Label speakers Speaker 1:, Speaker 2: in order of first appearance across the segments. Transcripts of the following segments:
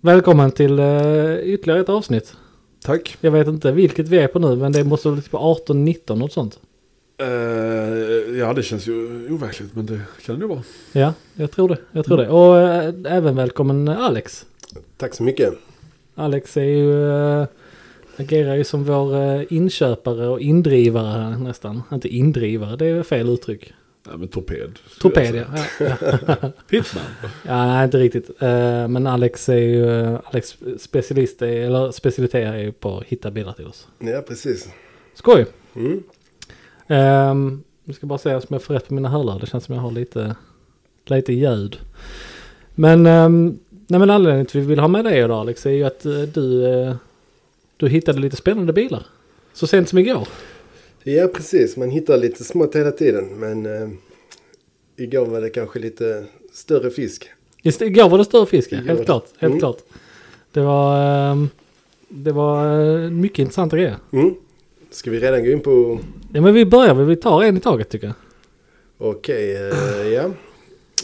Speaker 1: Välkommen till eh, ytterligare ett avsnitt.
Speaker 2: Tack.
Speaker 1: Jag vet inte vilket vi är på nu, men det måste vara typ 18, 19 något sånt.
Speaker 2: Eh, ja, det känns ju overkligt, men det kan det ju vara.
Speaker 1: Ja, jag tror det. Jag tror det. Och eh, även välkommen eh, Alex.
Speaker 3: Mm. Tack så mycket.
Speaker 1: Alex är ju, eh, agerar ju som vår eh, inköpare och indrivare här, nästan. Inte indrivare, det är ju fel uttryck.
Speaker 2: Nej, men torped.
Speaker 1: Torped, ja. ja.
Speaker 2: Pitman.
Speaker 1: Ja, nej, inte riktigt. Eh, Men Alex är ju, eh, Alex specialist, är, eller specialitet är ju på att hitta bilar till oss.
Speaker 3: Ja, precis.
Speaker 1: Skoj!
Speaker 3: Mm.
Speaker 1: Um, jag ska bara se om jag får rätt på mina hörlurar. Det känns som jag har lite, lite ljud. Men, ehm, nej men anledningen till att vi vill ha med dig idag Alex är ju att eh, du, eh, du hittade lite spännande bilar. Så sent som igår.
Speaker 3: Ja, precis. Man hittar lite smått hela tiden, men eh, igår var det kanske lite större fisk.
Speaker 1: Just, igår var det större fisk, ja.
Speaker 3: Igår.
Speaker 1: helt klart. Helt
Speaker 3: Mm.
Speaker 1: klart. Det var, ehm, det var eh, mycket intressanta grejer.
Speaker 3: Mm. Ska vi redan gå in på...
Speaker 1: Ja, men vi börjar väl, vi tar en i taget tycker jag.
Speaker 3: Okej, eh, ja.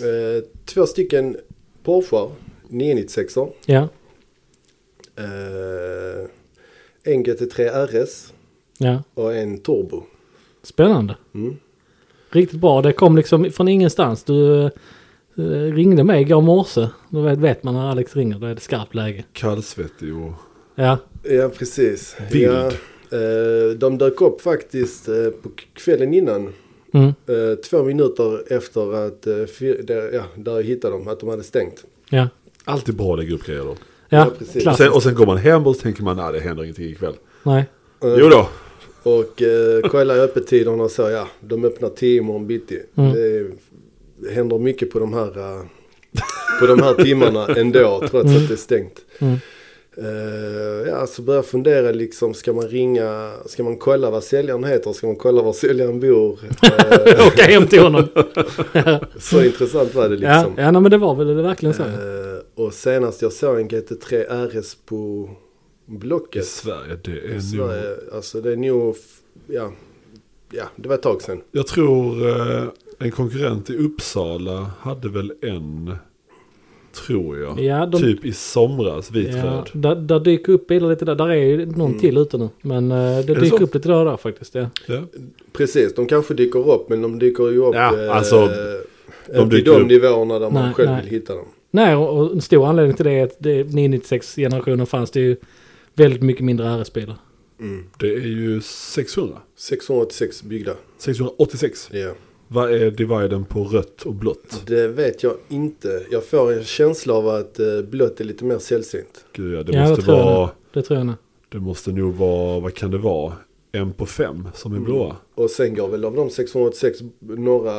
Speaker 3: Eh, två stycken Porschar, 996 eh,
Speaker 1: Ja,
Speaker 3: En GT3 RS
Speaker 1: ja.
Speaker 3: och en Turbo.
Speaker 1: spännande.
Speaker 3: Mm.
Speaker 1: Riktigt bra, det kom liksom från ingenstans. Du eh, ringde mig igår morse. Då vet, vet man när Alex ringer, då är det skarpt läge.
Speaker 2: Kallsvettig och...
Speaker 1: Ja,
Speaker 3: Ja, precis.
Speaker 2: Vild.
Speaker 3: Ja, eh, de dök upp faktiskt eh, på kvällen innan.
Speaker 1: mm.
Speaker 3: Eh, två minuter efter att, eh, fyr, där, ja, där jag hittade dem, att de hade stängt.
Speaker 1: ja.
Speaker 2: Alltid bra att lägga upp grejer då.
Speaker 1: Ja,
Speaker 3: Ja, precis.
Speaker 2: Och
Speaker 1: klart.
Speaker 2: sen, och sen går man hem och så tänker man, nej det händer ingenting ikväll.
Speaker 1: Nej.
Speaker 3: Eh,
Speaker 2: Jo då.
Speaker 3: Och eh, kollar jag öppettiderna och så, ja, de öppnar 10 imorgon bitti.
Speaker 1: Mm.
Speaker 3: Det är- händer mycket på de här, eh, på de här timmarna ändå, trots att det är stängt.
Speaker 1: Mm.
Speaker 3: Eh, ja, så börjar jag fundera liksom, ska man ringa, ska man kolla vad säljaren heter, ska man kolla var säljaren bor? Eh,
Speaker 1: Åka hem till honom.
Speaker 3: Liksom. så intressant var det liksom.
Speaker 1: Ja, ja nej, men det var väl verkligen så. ja.
Speaker 3: Eh, och senast jag såg en GT3 RS på
Speaker 2: I
Speaker 3: Blocket
Speaker 2: Sverige, det
Speaker 3: i
Speaker 2: är nog...
Speaker 3: Sverige, alltså det är nog, f- ja, ja, det var ett tag sedan.
Speaker 2: Jag tror eh, en konkurrent i Uppsala hade väl en, tror jag.
Speaker 1: Ja, de-
Speaker 2: Typ i somras, vit
Speaker 1: Ja,
Speaker 2: röd.
Speaker 1: där, där dyker upp bilar lite där. Där är ju någon
Speaker 3: Mm.
Speaker 1: till ute nu. Men eh, det
Speaker 2: det
Speaker 1: dyker
Speaker 2: så?
Speaker 1: upp lite där och där faktiskt. Ja.
Speaker 2: Ja.
Speaker 3: Precis, de kanske dyker upp men de dyker ju upp
Speaker 2: Ja,
Speaker 3: eh,
Speaker 2: alltså, de
Speaker 3: inte i
Speaker 2: dyker
Speaker 3: de
Speaker 2: upp.
Speaker 3: nivåerna där man
Speaker 1: Nej,
Speaker 3: själv
Speaker 1: nej.
Speaker 3: vill hitta dem.
Speaker 1: Nej, och och en stor anledning till det är att det- 996-generationen fanns det ju väldigt mycket mindre RS-bilar.
Speaker 3: Mm.
Speaker 2: Det är ju 600.
Speaker 3: 686 byggda,
Speaker 2: 686.
Speaker 3: ja.
Speaker 2: Vad är dividen på rött och blått?
Speaker 3: Det vet jag inte. Jag får en känsla av att eh, blått är lite mer sällsynt.
Speaker 2: Gud eh, ja, det
Speaker 1: Ja, det
Speaker 2: måste
Speaker 1: tror jag
Speaker 2: vara...
Speaker 1: Det tror jag nog.
Speaker 2: Det måste nog vara, vad kan det vara? En på fem som
Speaker 3: Mm.
Speaker 2: är blåa.
Speaker 3: Och sen går väl av de 686 några,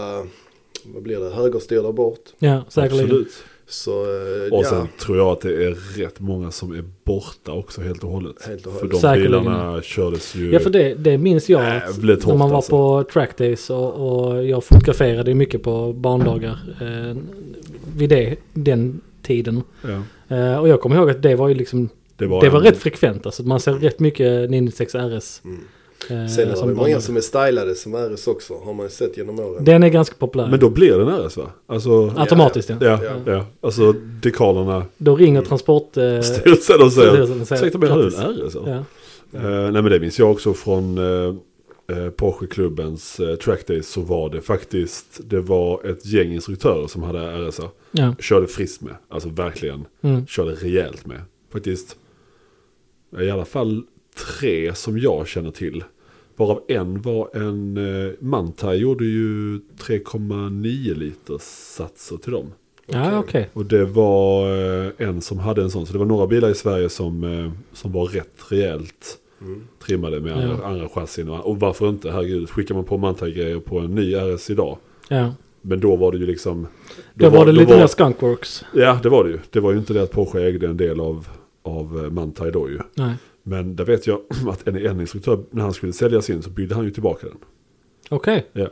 Speaker 3: vad blir det, högerstyrda bort.
Speaker 1: Ja, säkerligen.
Speaker 2: Absolut.
Speaker 3: Så eh,
Speaker 2: Och
Speaker 3: ja.
Speaker 2: sen tror jag att det är rätt många som är borta också helt och hållet.
Speaker 3: Helt och hållet.
Speaker 2: För de
Speaker 1: Säkerligen.
Speaker 2: bilarna kördes ju...
Speaker 1: Ja, för det, det minns jag. att
Speaker 2: Jävligt
Speaker 1: när
Speaker 2: hårt,
Speaker 1: man var
Speaker 2: alltså.
Speaker 1: på trackdays och, och jag fotograferade ju mycket på barndagar eh, vid det, den tiden.
Speaker 2: Ja.
Speaker 1: Eh, och jag kommer ihåg att det var ju liksom,
Speaker 2: Det var,
Speaker 1: det var
Speaker 2: en- Mm.
Speaker 1: rätt frekvent. Alltså att man ser rätt mycket 96 RS. Eh,
Speaker 3: Sen är det väl
Speaker 1: barndagar.
Speaker 3: många som är stylade som RS också, har man ju sett genom åren.
Speaker 1: Den är ganska populär.
Speaker 2: Men då blir den RS va? Alltså... Ja,
Speaker 1: Automatiskt ja.
Speaker 2: ja. Alltså dekalerna
Speaker 1: Då ringer transport... Eh,
Speaker 2: Mm. styrelsen och säger...
Speaker 1: Styrelsen säger,
Speaker 2: Ursäkta mig, har du
Speaker 1: "Grattis."
Speaker 2: en RS? eller?
Speaker 1: ja.
Speaker 2: Eh, nej men det minns jag också från eh, eh, Porsche-klubbens eh, trackdays så var det faktiskt, det var ett gäng instruktörer som hade RSA.
Speaker 1: ja.
Speaker 2: Körde friskt med, alltså verkligen
Speaker 1: Mm.
Speaker 2: körde rejält med. Faktiskt, eh, i alla fall tre som jag känner till. Varav en var en, eh, Mantai gjorde ju 3,9 liters satser till dem.
Speaker 1: Ja, okej.
Speaker 2: Och det var eh, en som hade en sån. Så det var några bilar i Sverige som, eh, som var rätt rejält trimmade med andra,
Speaker 1: Ja.
Speaker 2: andra chassin. Och, och varför inte? Herregud, skickar man på Mantai-grejer på en ny RS idag.
Speaker 1: Ja.
Speaker 2: Men då var det ju liksom...
Speaker 1: Då, var det
Speaker 2: då
Speaker 1: lite mer skunkworks.
Speaker 2: Ja, det var det ju. Det var ju inte det att Porsche ägde en del av, av eh, Mantai då ju.
Speaker 1: Nej,
Speaker 2: Men där vet jag att en, en instruktör, när han skulle sälja sin så byggde han ju tillbaka den.
Speaker 1: okej.
Speaker 2: Ja.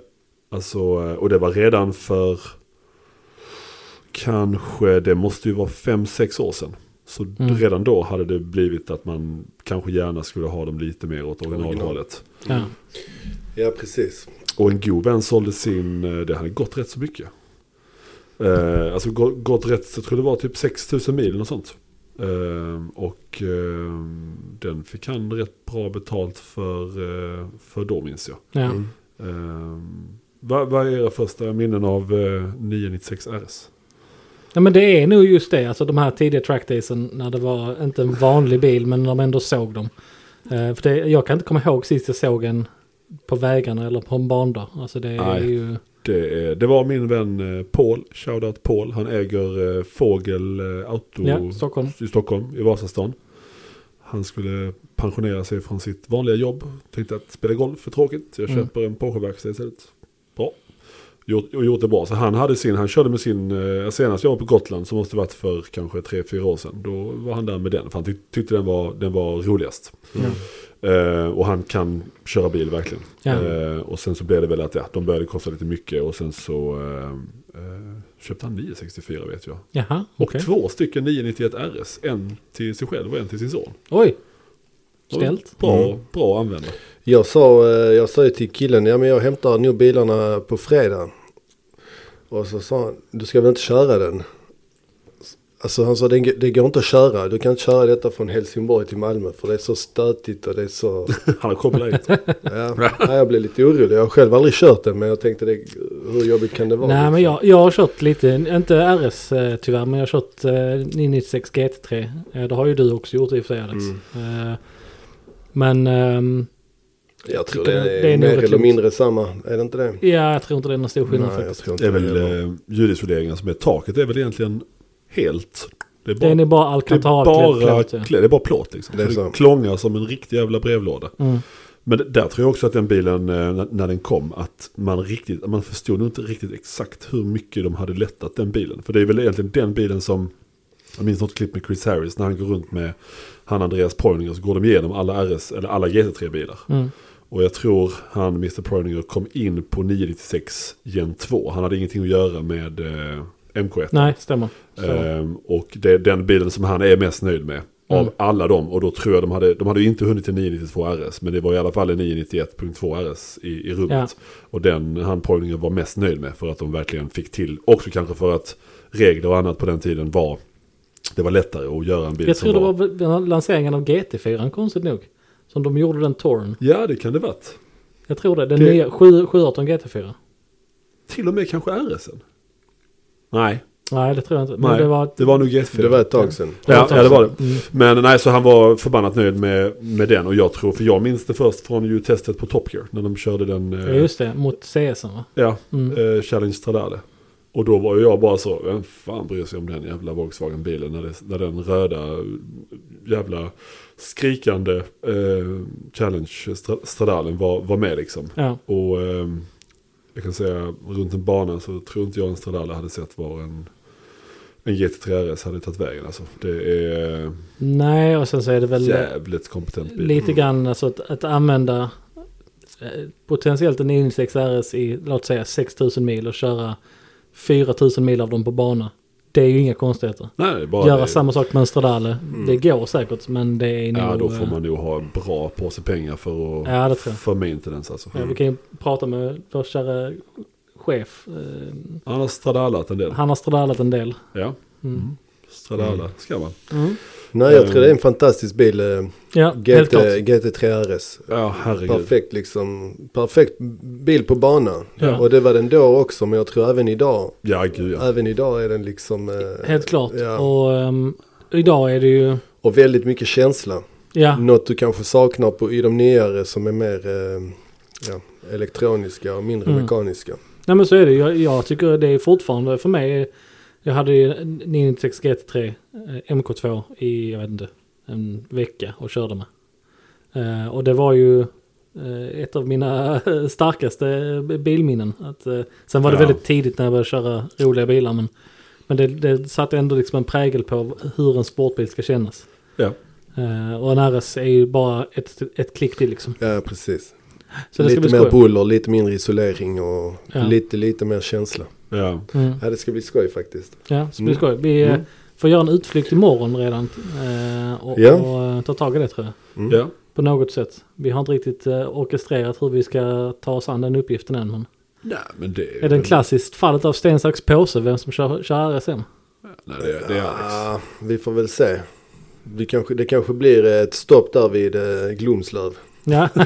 Speaker 2: Alltså, eh, och det var redan för kanske, det måste ju vara fem sex år sedan. Så d-
Speaker 1: Mm.
Speaker 2: redan då hade det blivit att man kanske gärna skulle ha dem lite mer åt originalhållet.
Speaker 1: Ja.
Speaker 3: Ja, precis.
Speaker 2: Och en god vän sålde sin, eh, det hade gått rätt så mycket. Eh, alltså gå- gått rätt, jag tror det var typ 6000 mil eller något sånt. Ehm, och ehm, den fick han rätt bra betalt för, eh, för då minns jag.
Speaker 1: Ja.
Speaker 3: Mm.
Speaker 2: Ehm, vad, vad är era första minnen av eh, 996 RS?
Speaker 1: ja men det är nog just det. Alltså de här tidiga trackdaysen när det var inte en vanlig bil men de ändå såg dem. Eh, för det, jag kan inte komma ihåg sist jag såg en på vägarna eller på en bandag. Alltså det är
Speaker 2: Nej.
Speaker 1: ju...
Speaker 2: Det, är, det var min vän eh, Paul, shoutout Paul. Han äger eh, Fågel eh, Auto
Speaker 1: Ja, Stockholm.
Speaker 2: i Stockholm, i Vasastan. Han skulle pensionera sig från sitt vanliga jobb. Tänkte att spela golf är tråkigt, jag
Speaker 1: Mm.
Speaker 2: köper en Porsche-verkstad istället. Bra. Gjort, och gjort det bra. Så han hade sin, han körde med sin, eh, senast jag var på Gotland så måste det varit för kanske tre fyra år sedan. Då var han där med den, för han tyck, tyckte den var, den var roligast.
Speaker 1: Ja.
Speaker 2: Eh, och han kan köra bil verkligen.
Speaker 1: Ja.
Speaker 2: Eh, och sen så blev det väl att ja, de började kosta lite mycket och sen så eh, eh, köpte han 964 vet jag.
Speaker 1: Jaha,
Speaker 2: Och
Speaker 1: okej.
Speaker 2: två stycken 991 RS, en till sig själv och en till sin son.
Speaker 1: Oj!
Speaker 2: Det var
Speaker 1: Ställt.
Speaker 2: Bra,
Speaker 3: Mm.
Speaker 2: bra användare.
Speaker 3: Jag sa, eh, jag sa ju till killen, ja men jag hämtar nog bilarna på fredag. Och så sa han, du ska väl inte köra den? Alltså han sa, det, det går inte att köra, du kan inte köra detta från Helsingborg till Malmö för det är så stötigt och det är så...
Speaker 2: Han har kopplat hit.
Speaker 3: Ja, Nej, jag blev lite orolig, jag har själv aldrig kört den men jag tänkte, det, hur jobbigt kan det vara?
Speaker 1: Nej
Speaker 3: liksom?
Speaker 1: men jag, jag har kört lite, inte RS eh, tyvärr, men jag har kört eh, 996 GT3. Eh, det har ju du också gjort i och för sig Alex.
Speaker 2: Mm.
Speaker 1: Eh, men ehm,
Speaker 3: Liksom. Jag tror det
Speaker 1: tycker
Speaker 3: är,
Speaker 1: det är nog
Speaker 3: mer
Speaker 1: rätt
Speaker 3: eller
Speaker 1: lugnt.
Speaker 3: mindre samma, är det inte det?
Speaker 1: ja, jag tror inte det är någon stor skillnad
Speaker 3: Nej, jag
Speaker 1: faktiskt.
Speaker 3: tror inte
Speaker 2: Det är väl
Speaker 3: heller.
Speaker 2: eh, ljudisoleringen som är taket. Det är väl egentligen helt. Det är bara,
Speaker 1: Den är bara
Speaker 2: det är
Speaker 1: alcantara
Speaker 2: bara,
Speaker 1: klädd, ja.
Speaker 2: klä- det är bara plåt liksom.
Speaker 3: Det är
Speaker 2: Det,
Speaker 3: så.
Speaker 2: det klångar som en riktig jävla brevlåda.
Speaker 1: Mm.
Speaker 2: Men det- där tror jag också att den bilen, eh, när- när den kom, att man riktigt, man förstod nog inte riktigt exakt hur mycket de hade lättat den bilen. För det är väl egentligen den bilen som, jag minns något klipp med Chris Harris, när han går runt med han Andreas Poininger så går de igenom alla RS, eller alla GT3-bilar.
Speaker 1: Mm.
Speaker 2: Och jag tror han, Mr Poininger, kom in på 996 Gen 2. Han hade ingenting att göra med eh, MK1.
Speaker 1: Nej, stämmer. Så.
Speaker 2: Ehm, och det är den bilen som han är mest nöjd med.
Speaker 1: Mm.
Speaker 2: Av alla dem. Och då tror jag de hade, de hade ju inte hunnit till 992 RS. Men det var i alla fall en 991.2 RS i, i rummet.
Speaker 1: Ja.
Speaker 2: Och den han Poininger var mest nöjd med. För att de verkligen fick till. Också kanske för att regler och annat på den tiden var. Det var lättare att göra en bil
Speaker 1: jag
Speaker 2: som
Speaker 1: tror det var vid lanseringen av GT4 konstigt nog. Som de gjorde den torn.
Speaker 2: Ja det kan det varit.
Speaker 1: Jag tror det. Den
Speaker 2: Det-
Speaker 1: nya 7, 718 GT4.
Speaker 2: Till och med kanske RSen. Nej,
Speaker 1: Nej, det tror jag inte. Men
Speaker 2: nej.
Speaker 1: det var...
Speaker 2: det var nog GT4.
Speaker 3: Det var ett tag sedan.
Speaker 2: Ja,
Speaker 1: var-
Speaker 2: ja, det var det.
Speaker 1: Mm.
Speaker 2: Men nej, så han var förbannat nöjd med, med den. Och jag tror, för jag minns det först från ju testet på Top Gear. När de körde den,
Speaker 1: Ja,
Speaker 2: eh,
Speaker 1: just det. Mot CS va?
Speaker 2: ja,
Speaker 1: Mm.
Speaker 2: eh, Challenge Stradale. Och då var ju jag bara så, vem fan bryr sig om den jävla Volkswagen-bilen när, det, när den röda eh, jävla skrikande eh, Challenge Stra- Stradalen var, var med liksom.
Speaker 1: Ja.
Speaker 2: Och ehm, jag kan säga runt en bana så tror inte jag en Stradale hade sett var en, en GT3 RS hade tagit vägen alltså. Det är...
Speaker 1: Nej, och sen så är det väl...
Speaker 2: Jävligt kompetent bil.
Speaker 1: Lite grann alltså att, att använda eh, potentiellt en 96 RS i låt säga 6000 mil och köra 4000 mil av dem på bana. Det är ju inga konstigheter.
Speaker 2: Nej, det är bara
Speaker 1: Göra
Speaker 2: det. Mm.
Speaker 1: samma sak med en Stradale. Det går säkert men det är nog...
Speaker 2: Ja, då får
Speaker 1: eh,
Speaker 2: man nog ha en bra påse pengar för att...
Speaker 1: Ja, det tror jag.
Speaker 2: För maintenance alltså.
Speaker 1: Ja, Eh, vi kan ju prata med vår kära chef. Eh,
Speaker 2: Han har stradalat en del.
Speaker 1: Han har stradalat en del.
Speaker 2: Ja.
Speaker 1: Mm.
Speaker 2: Mm. Stradala ska man.
Speaker 3: Nej, jag tror det är en fantastisk bil. eh,
Speaker 1: Ja, helt
Speaker 3: GT,
Speaker 1: klart.
Speaker 3: GT3 RS.
Speaker 2: Ja, herregud.
Speaker 3: Perfekt liksom, perfekt bil på bana.
Speaker 1: Ja.
Speaker 3: Och det var den då också, men jag tror även idag,
Speaker 2: Ja, gud ja.
Speaker 3: även idag är den liksom... eh,
Speaker 1: Helt klart.
Speaker 3: Ja.
Speaker 1: Och ehm, idag är det ju...
Speaker 3: Och väldigt mycket känsla.
Speaker 1: Ja,
Speaker 3: Något du kanske saknar på, i de nyare som är mer eh, ja, elektroniska och mindre
Speaker 1: Mm.
Speaker 3: mekaniska.
Speaker 1: Nej men så är det. Jag, jag tycker det är fortfarande för mig. Jag hade ju 996 GT3 eh, MK2 i jag vet inte, en vecka och körde med. Eh, och det var ju eh, ett av mina starkaste bilminnen. Att, eh, sen var det
Speaker 2: Ja.
Speaker 1: väldigt tidigt när jag började köra roliga bilar. Men, men det, det satte ändå liksom en prägel på hur en sportbil ska kännas.
Speaker 2: ja.
Speaker 1: Eh, och en RS är ju bara ett, ett klick till liksom.
Speaker 3: Ja, precis.
Speaker 1: Så det ska
Speaker 3: lite
Speaker 1: bli
Speaker 3: mer
Speaker 1: skoj.
Speaker 3: buller, lite mindre isolering och
Speaker 1: Ja.
Speaker 3: lite, lite mer känsla.
Speaker 2: ja.
Speaker 1: Mm.
Speaker 3: Ja, det ska bli skoj faktiskt.
Speaker 1: Ja, så det blir
Speaker 3: Mm.
Speaker 1: skoj. Vi eh,
Speaker 3: Mm.
Speaker 1: får göra en utflykt imorgon redan. eh, Och,
Speaker 3: Ja.
Speaker 1: och eh, ta tag i det tror jag.
Speaker 3: Mm.
Speaker 2: ja.
Speaker 1: På något sätt. Vi har inte riktigt eh, orkestrerat hur vi ska ta oss an den uppgiften än. Men
Speaker 2: Nej, men det...
Speaker 1: är det en klassiskt fallet av sten, sax, påse vem som kör, kör RSM?
Speaker 2: Nej, det, det är Alex.
Speaker 3: Ah, vi får väl se. Vi kanske, det kanske blir ett stopp där vid eh, Glomslöv.
Speaker 1: Ja.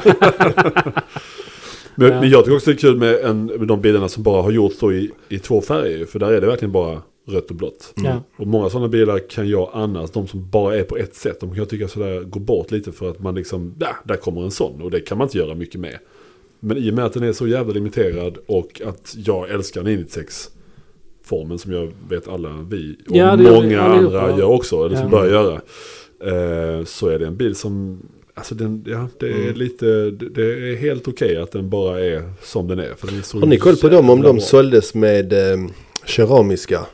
Speaker 2: Men,
Speaker 1: Ja.
Speaker 2: men jag tycker också det är kul med, en, med de bilarna som bara har gjorts då i, i två färger. ju, För där är det verkligen bara rött och blått.
Speaker 1: Mm. ja.
Speaker 2: Och många sådana bilar kan jag annars, de som bara är på ett sätt, de kan jag tycka sådär går bort lite för att man liksom, där, där kommer en sån och det kan man inte göra mycket med. Men i och med att den är så jävla limiterad och att jag älskar 996-formen som jag vet alla vi och
Speaker 1: Ja, det gör vi
Speaker 2: många
Speaker 1: allihopa.
Speaker 2: andra gör också, eller som
Speaker 1: Ja.
Speaker 2: börjar göra, eh, så är det en bil som, alltså den, ja, det är
Speaker 3: Mm.
Speaker 2: lite, det, det är helt okej att den bara är som den är. För den är så
Speaker 3: Har ni koll på
Speaker 2: jävla
Speaker 3: dem om de
Speaker 2: bra.
Speaker 3: såldes med eh, keramiska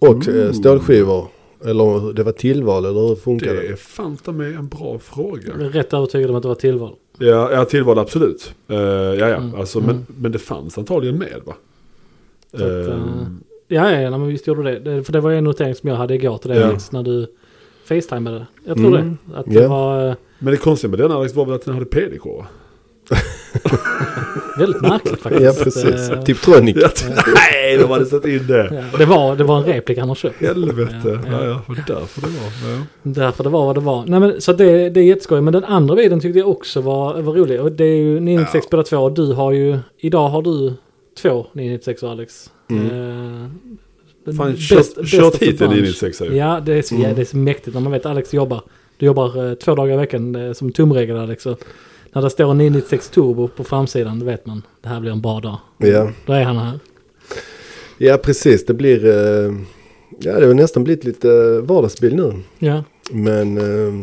Speaker 3: och eh,
Speaker 2: Mm.
Speaker 3: stålskivor? Eller om det var tillval eller hur
Speaker 2: Det
Speaker 3: funkar det?
Speaker 2: är fan ta mig en bra fråga.
Speaker 3: Mm.
Speaker 1: Jag är rätt övertygad om att det var tillval.
Speaker 2: Ja, ja tillval absolut. Eh, ja, ja.
Speaker 1: Mm.
Speaker 2: Alltså,
Speaker 1: Mm.
Speaker 2: Men, men det fanns antagligen med va?
Speaker 1: Så att, eh,
Speaker 2: Ehm,
Speaker 1: Ja, ja, ja nej, men visst gjorde det. det. För det var ju en notering som jag hade igår till dig
Speaker 2: Ja.
Speaker 1: Alex, när du facetimade. Jag tror
Speaker 3: Mm.
Speaker 1: det. Att det
Speaker 3: Ja.
Speaker 1: var eh,
Speaker 2: men det konstiga med den Alex var väl att den hade PDK? va?
Speaker 1: väldigt märkligt faktiskt.
Speaker 3: Ja precis, Typ-
Speaker 1: Eh,
Speaker 3: Tiptronic.
Speaker 2: Ja, nej, de hade satt in det.
Speaker 1: ja, det, var, det var en replik han har köpt.
Speaker 2: Helvete.
Speaker 1: Ja, ja.
Speaker 2: Ja, ja. Det var därför det var. Ja.
Speaker 1: Därför det var vad det var. Nej, men, så att det, det är jätteskoj. Men den andra videon tyckte jag också var, var rolig. Och det är ju 996 båda två. Och du har ju, idag har du två 996 Alex.
Speaker 3: Mm.
Speaker 1: Eh, den
Speaker 2: Fan,
Speaker 1: bäst-
Speaker 2: kört,
Speaker 1: bäst
Speaker 2: kört
Speaker 1: of the
Speaker 2: hit en
Speaker 1: bunch.
Speaker 2: 996 ju.
Speaker 1: Ja det, är så, ja,
Speaker 3: Mm.
Speaker 1: det är så mäktigt när man vet Alex jobbar. Du jobbar eh, två dagar i veckan eh, som tumregel Alex. Och när det står en 996 Turbo på framsidan då vet man det här blir en bra dag.
Speaker 3: Ja.
Speaker 1: Då är han här.
Speaker 3: ja precis, det blir... Eh, ja det har nästan blivit lite eh, vardagsbil nu.
Speaker 1: Ja,
Speaker 3: Men eh,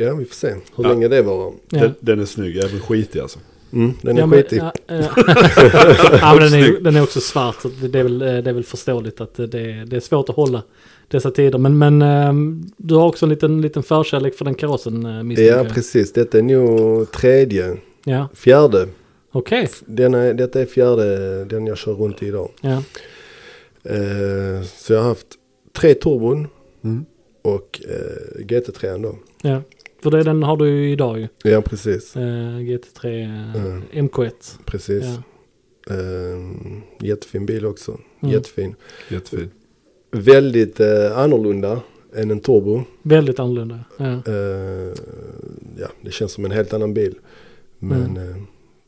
Speaker 3: ja vi får se hur
Speaker 2: Ja.
Speaker 3: länge det varar.
Speaker 1: ja.
Speaker 2: Den, den är snygg, även skitig alltså.
Speaker 3: Mm, den är
Speaker 1: ja, men-
Speaker 3: skitig.
Speaker 1: Ja, ja. ja, men den, är, den är också svart. Så det, är väl, eh, det är väl förståeligt att eh, det, är- det är svårt att hålla dessa tider. Men, men ehm, du har också en liten, liten förkärlek för den karossen eh, misstänker
Speaker 3: Ja
Speaker 1: jag.
Speaker 3: precis, detta är nog tredje,
Speaker 1: Ja,
Speaker 3: fjärde.
Speaker 1: okej.
Speaker 3: Den är, detta är fjärde den jag kör runt i idag.
Speaker 1: Ja.
Speaker 3: Eh, så jag har haft tre turbon
Speaker 2: Mm.
Speaker 3: och eh, GT3 då.
Speaker 1: ja, för det, den har du ju idag ju.
Speaker 3: Ja precis,
Speaker 1: Eh, GT3 eh,
Speaker 3: Mm.
Speaker 1: MK1.
Speaker 3: precis.
Speaker 1: Ja.
Speaker 3: Eh, jättefin bil också,
Speaker 1: Mm.
Speaker 3: jättefin.
Speaker 2: Jättefin.
Speaker 3: Väldigt eh, annorlunda än en turbo.
Speaker 1: Väldigt annorlunda. Ja.
Speaker 3: Eh, ja, det känns som en helt annan bil. Men
Speaker 1: Mm.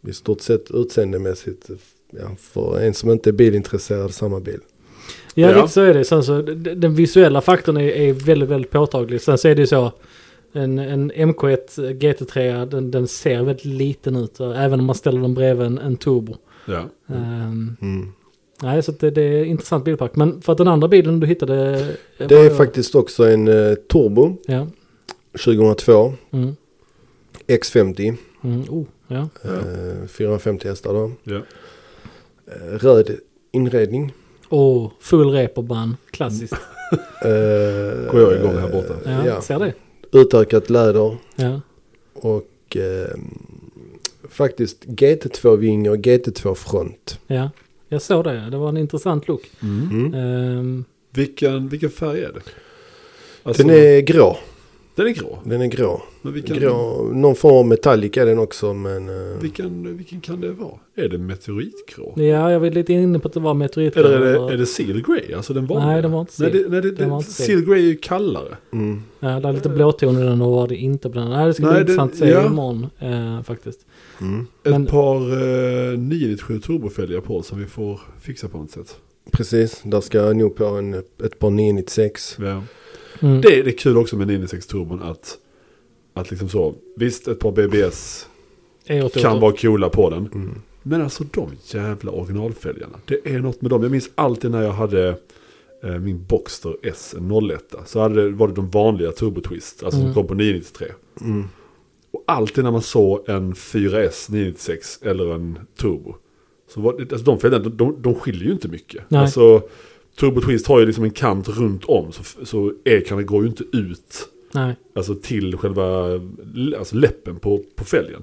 Speaker 3: eh, i stort sett utseendemässigt, ja, för en som inte är bilintresserad, samma bil.
Speaker 1: Ja,
Speaker 2: Ja.
Speaker 1: lite så är det. Sen så, d- d- den visuella faktorn är, är väldigt, väldigt påtaglig. Sen så är det ju så. En, en MK1 GT3 den, den ser väldigt liten ut. eh, Även om man ställer den bredvid en, en turbo.
Speaker 2: Ja.
Speaker 1: Ehm,
Speaker 3: Mm.
Speaker 1: nej, så att det, det är en intressant bilpark. Men för att den andra bilen du hittade... eh,
Speaker 3: Det
Speaker 1: var-
Speaker 3: är faktiskt också en eh, turbo
Speaker 1: Ja.
Speaker 3: 2002,
Speaker 1: Mm,
Speaker 3: X50,
Speaker 1: mm, oh, ja.
Speaker 3: eh, 450 hästar då.
Speaker 2: Ja.
Speaker 3: Eh, röd inredning.
Speaker 1: Och full reperband. Klassiskt.
Speaker 3: Eh,
Speaker 2: Går jag igång här borta?
Speaker 1: Ja,
Speaker 3: Mm. ja.
Speaker 1: Ser det?
Speaker 3: Utökat läder
Speaker 1: Ja.
Speaker 3: och eh, faktiskt GT2-vinge och GT2-front.
Speaker 1: ja. Jag såg det. Det var en intressant look.
Speaker 2: Mm.
Speaker 3: Mm.
Speaker 1: Ehm,
Speaker 2: Vilken, vilken färg är det? Alltså,
Speaker 3: Den är grå.
Speaker 2: den är grå.
Speaker 3: Den är grå.
Speaker 2: Men vilken,
Speaker 3: grå. Någon form av metallic är den också men... eh,
Speaker 2: vilken, vilken kan det vara? Är det meteoritgrå?
Speaker 1: ja, jag var lite inne på att det var meteorit.
Speaker 2: Eller är det, är det Seal Grey? Alltså den vanliga?
Speaker 1: Nej, den var inte
Speaker 2: Nej,
Speaker 1: Seal.
Speaker 2: det, nej, det,
Speaker 1: Den var
Speaker 2: det,
Speaker 1: inte Seal.
Speaker 2: Seal Grey är ju kallare.
Speaker 3: Mm.
Speaker 1: Ja, det är lite blåton i den och var det inte på den. Nej, det ska bli
Speaker 2: Nej, det-
Speaker 1: intressant att se
Speaker 2: ja.
Speaker 1: imorgon eh, faktiskt.
Speaker 3: Mm.
Speaker 2: Ett
Speaker 1: Men-
Speaker 2: par eh, 997 turbofälgar på som vi får fixa på något sätt.
Speaker 3: Precis, där ska jag nog på en, ett par 996.
Speaker 2: Ja.
Speaker 1: Mm.
Speaker 2: Det, är- det är kul också med 996 turbon att, att liksom så, visst ett par BBS
Speaker 1: är åt
Speaker 2: kan
Speaker 1: åt-
Speaker 2: vara coola på den.
Speaker 3: Mm.
Speaker 2: Men alltså de jävla originalfälgarna. Det är något med dem. Jag minns alltid när jag hade eh, min Boxster S01. Så hade, det- var det de vanliga Turbo Twist. Alltså
Speaker 1: Mm.
Speaker 2: som kom på 993.
Speaker 3: Mm.
Speaker 2: Och alltid när man såg en 4S 996 eller en Turbo. Så var det, alltså de fälgarna, de, de skiljer ju inte mycket.
Speaker 1: Nej.
Speaker 2: Alltså, Turbo Twist har ju liksom en kant runt om. Så, så ekarna går ju inte ut
Speaker 1: Nej.
Speaker 2: alltså till själva alltså läppen på, på fälgen.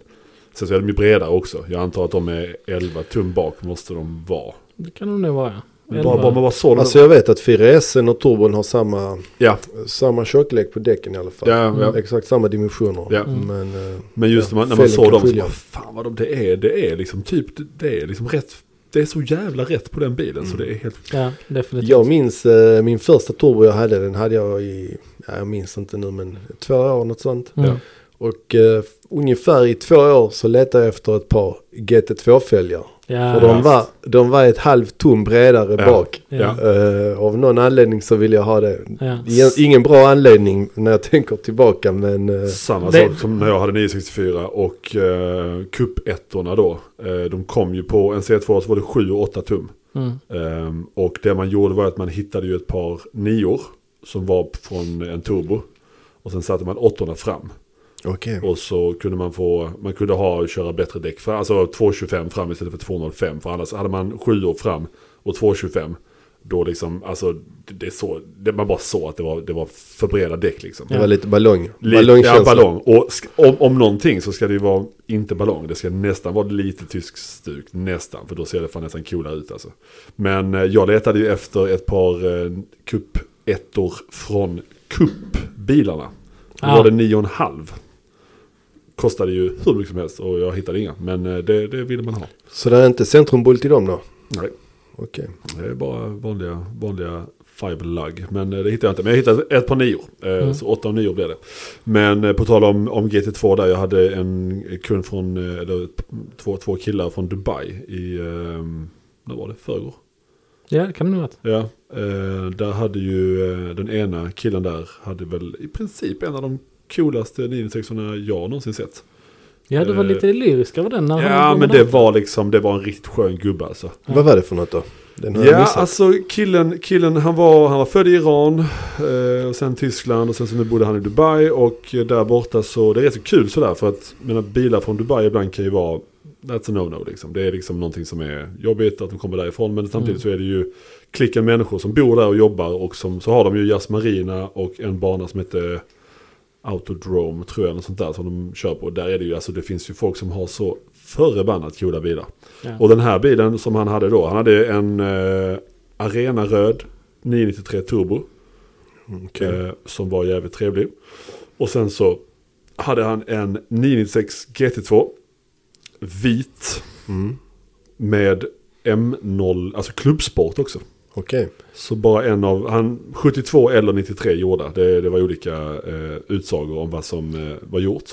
Speaker 2: Sen så är de ju bredare också. Jag antar att de är 11 tum bak måste de vara.
Speaker 1: Det kan de nog vara. ja.
Speaker 2: Bara, bara man bara såg
Speaker 3: Alltså jag vet att 4S och turbon har samma,
Speaker 2: ja,
Speaker 3: samma tjocklek på däcken i alla fall.
Speaker 2: ja, ja.
Speaker 3: Exakt samma dimensioner.
Speaker 2: Ja.
Speaker 1: Mm.
Speaker 3: Men eh,
Speaker 2: Men just
Speaker 3: Ja,
Speaker 2: när man, när man
Speaker 3: fälgen
Speaker 2: såg
Speaker 3: kan
Speaker 2: dem så
Speaker 3: skilja.
Speaker 2: bara, fan vad de, det är, det är liksom typ, det, det är liksom rätt, det är så jävla rätt på den bilen så det är helt,
Speaker 1: Ja, definitivt.
Speaker 3: jag minns eh, min första turbo jag hade. Den hade jag i ja, jag minns inte nu men två år något sånt.
Speaker 1: Mm.
Speaker 2: Ja.
Speaker 3: Och eh, ungefär i två år så letade jag efter ett par GT2-fälgar.
Speaker 1: Ja,
Speaker 3: För de var, de var ett halvt tom bredare
Speaker 2: Ah, Ja.
Speaker 3: bak.
Speaker 1: ja.
Speaker 3: Eh, av någon anledning så vill jag ha det.
Speaker 1: ja.
Speaker 3: Ingen, ingen bra anledning när jag tänker tillbaka men eh,
Speaker 2: Samma
Speaker 1: Det-
Speaker 2: sak som när jag hade 964 och eh, cup-ettorna då. Eh, de kom ju på en C2 så var det 7 och 8 tum.
Speaker 1: Mm.
Speaker 2: Ehm, och det man gjorde var att man hittade ju ett par nior som var från en turbo. Och sen satte man åttorna fram.
Speaker 3: okej.
Speaker 2: Och så kunde man få, man kunde ha, köra bättre däck. Fram, alltså 225 fram istället för 205. För annars hade man 7 år fram och 225. Då liksom, alltså det, det så, det, man bara såg att det var, det var för breda däck liksom.
Speaker 3: Det var lite ballong.
Speaker 2: Lite, ja,
Speaker 3: Ballongkänsla.
Speaker 2: ballong. Och sk- om, om någonting så ska det ju vara inte ballong. Det ska nästan vara lite tysk stuk. Nästan. För då ser det fan nästan coolare ut alltså. Men eh, jag letade ju efter ett par eh, cup-ettor från cup-bilarna. Då
Speaker 1: Ah.
Speaker 2: var det nio och en halv. Kostade ju hur mycket som helst och jag hittade inga. Men eh, det, det ville man ha.
Speaker 3: Så det är inte centrumbult i dem då?
Speaker 2: Nej,
Speaker 3: Okej.
Speaker 2: det är bara vanliga, vanliga fiberlug. Men eh, det hittade jag inte. Men jag hittade ett par nior. Eh,
Speaker 1: Mm.
Speaker 2: Så åtta och nio blev det. Men eh, på tal om, om GT2 där. Jag hade en kund från, eh, eller p- två, två killar från Dubai i, eh, när var det? Förrgår.
Speaker 1: ja, det kan det nog vara.
Speaker 2: Ja, eh, där hade ju eh, den ena killen där hade väl i princip en av de coolaste 996 jag någonsin sett.
Speaker 1: Ja, du var
Speaker 2: Eh,
Speaker 1: lite lyrisk över den. När han
Speaker 2: Ja,
Speaker 1: drog
Speaker 2: men
Speaker 1: den
Speaker 2: det
Speaker 1: här.
Speaker 2: var liksom, det var en riktigt skön gubbe alltså.
Speaker 3: Vad var det för något då? Den har jag
Speaker 2: Ja,
Speaker 3: missat.
Speaker 2: alltså killen, killen han, var, han var född i Iran, eh, och sen Tyskland och sen så nu bodde han i Dubai och eh, där borta så det är rätt så kul sådär för att mina bilar från Dubai ibland kan ju vara That's a no-no liksom. Det är liksom någonting som är jobbigt att de kommer därifrån. Men samtidigt
Speaker 3: Mm.
Speaker 2: så är det ju klicken människor som bor där och jobbar. Och som, så har de ju Jazz Marina och en bana som heter Autodrome tror jag. Något sånt där som de kör på. Där är det ju, alltså det finns ju folk som har så förbannat coola bilar.
Speaker 1: Ja.
Speaker 2: Och den här bilen som han hade då, han hade en eh, Arena Röd 993 Turbo.
Speaker 3: Okej.
Speaker 2: Eh, som var jävligt trevlig. Och sen så hade han en 996 GT2. Vit.
Speaker 3: Mm.
Speaker 2: Med M0, alltså klubbsport också.
Speaker 3: Okej.
Speaker 2: Så bara en av, han 72 eller 93 gjorda. Det, det var olika eh, utsagor om vad som eh, var gjort.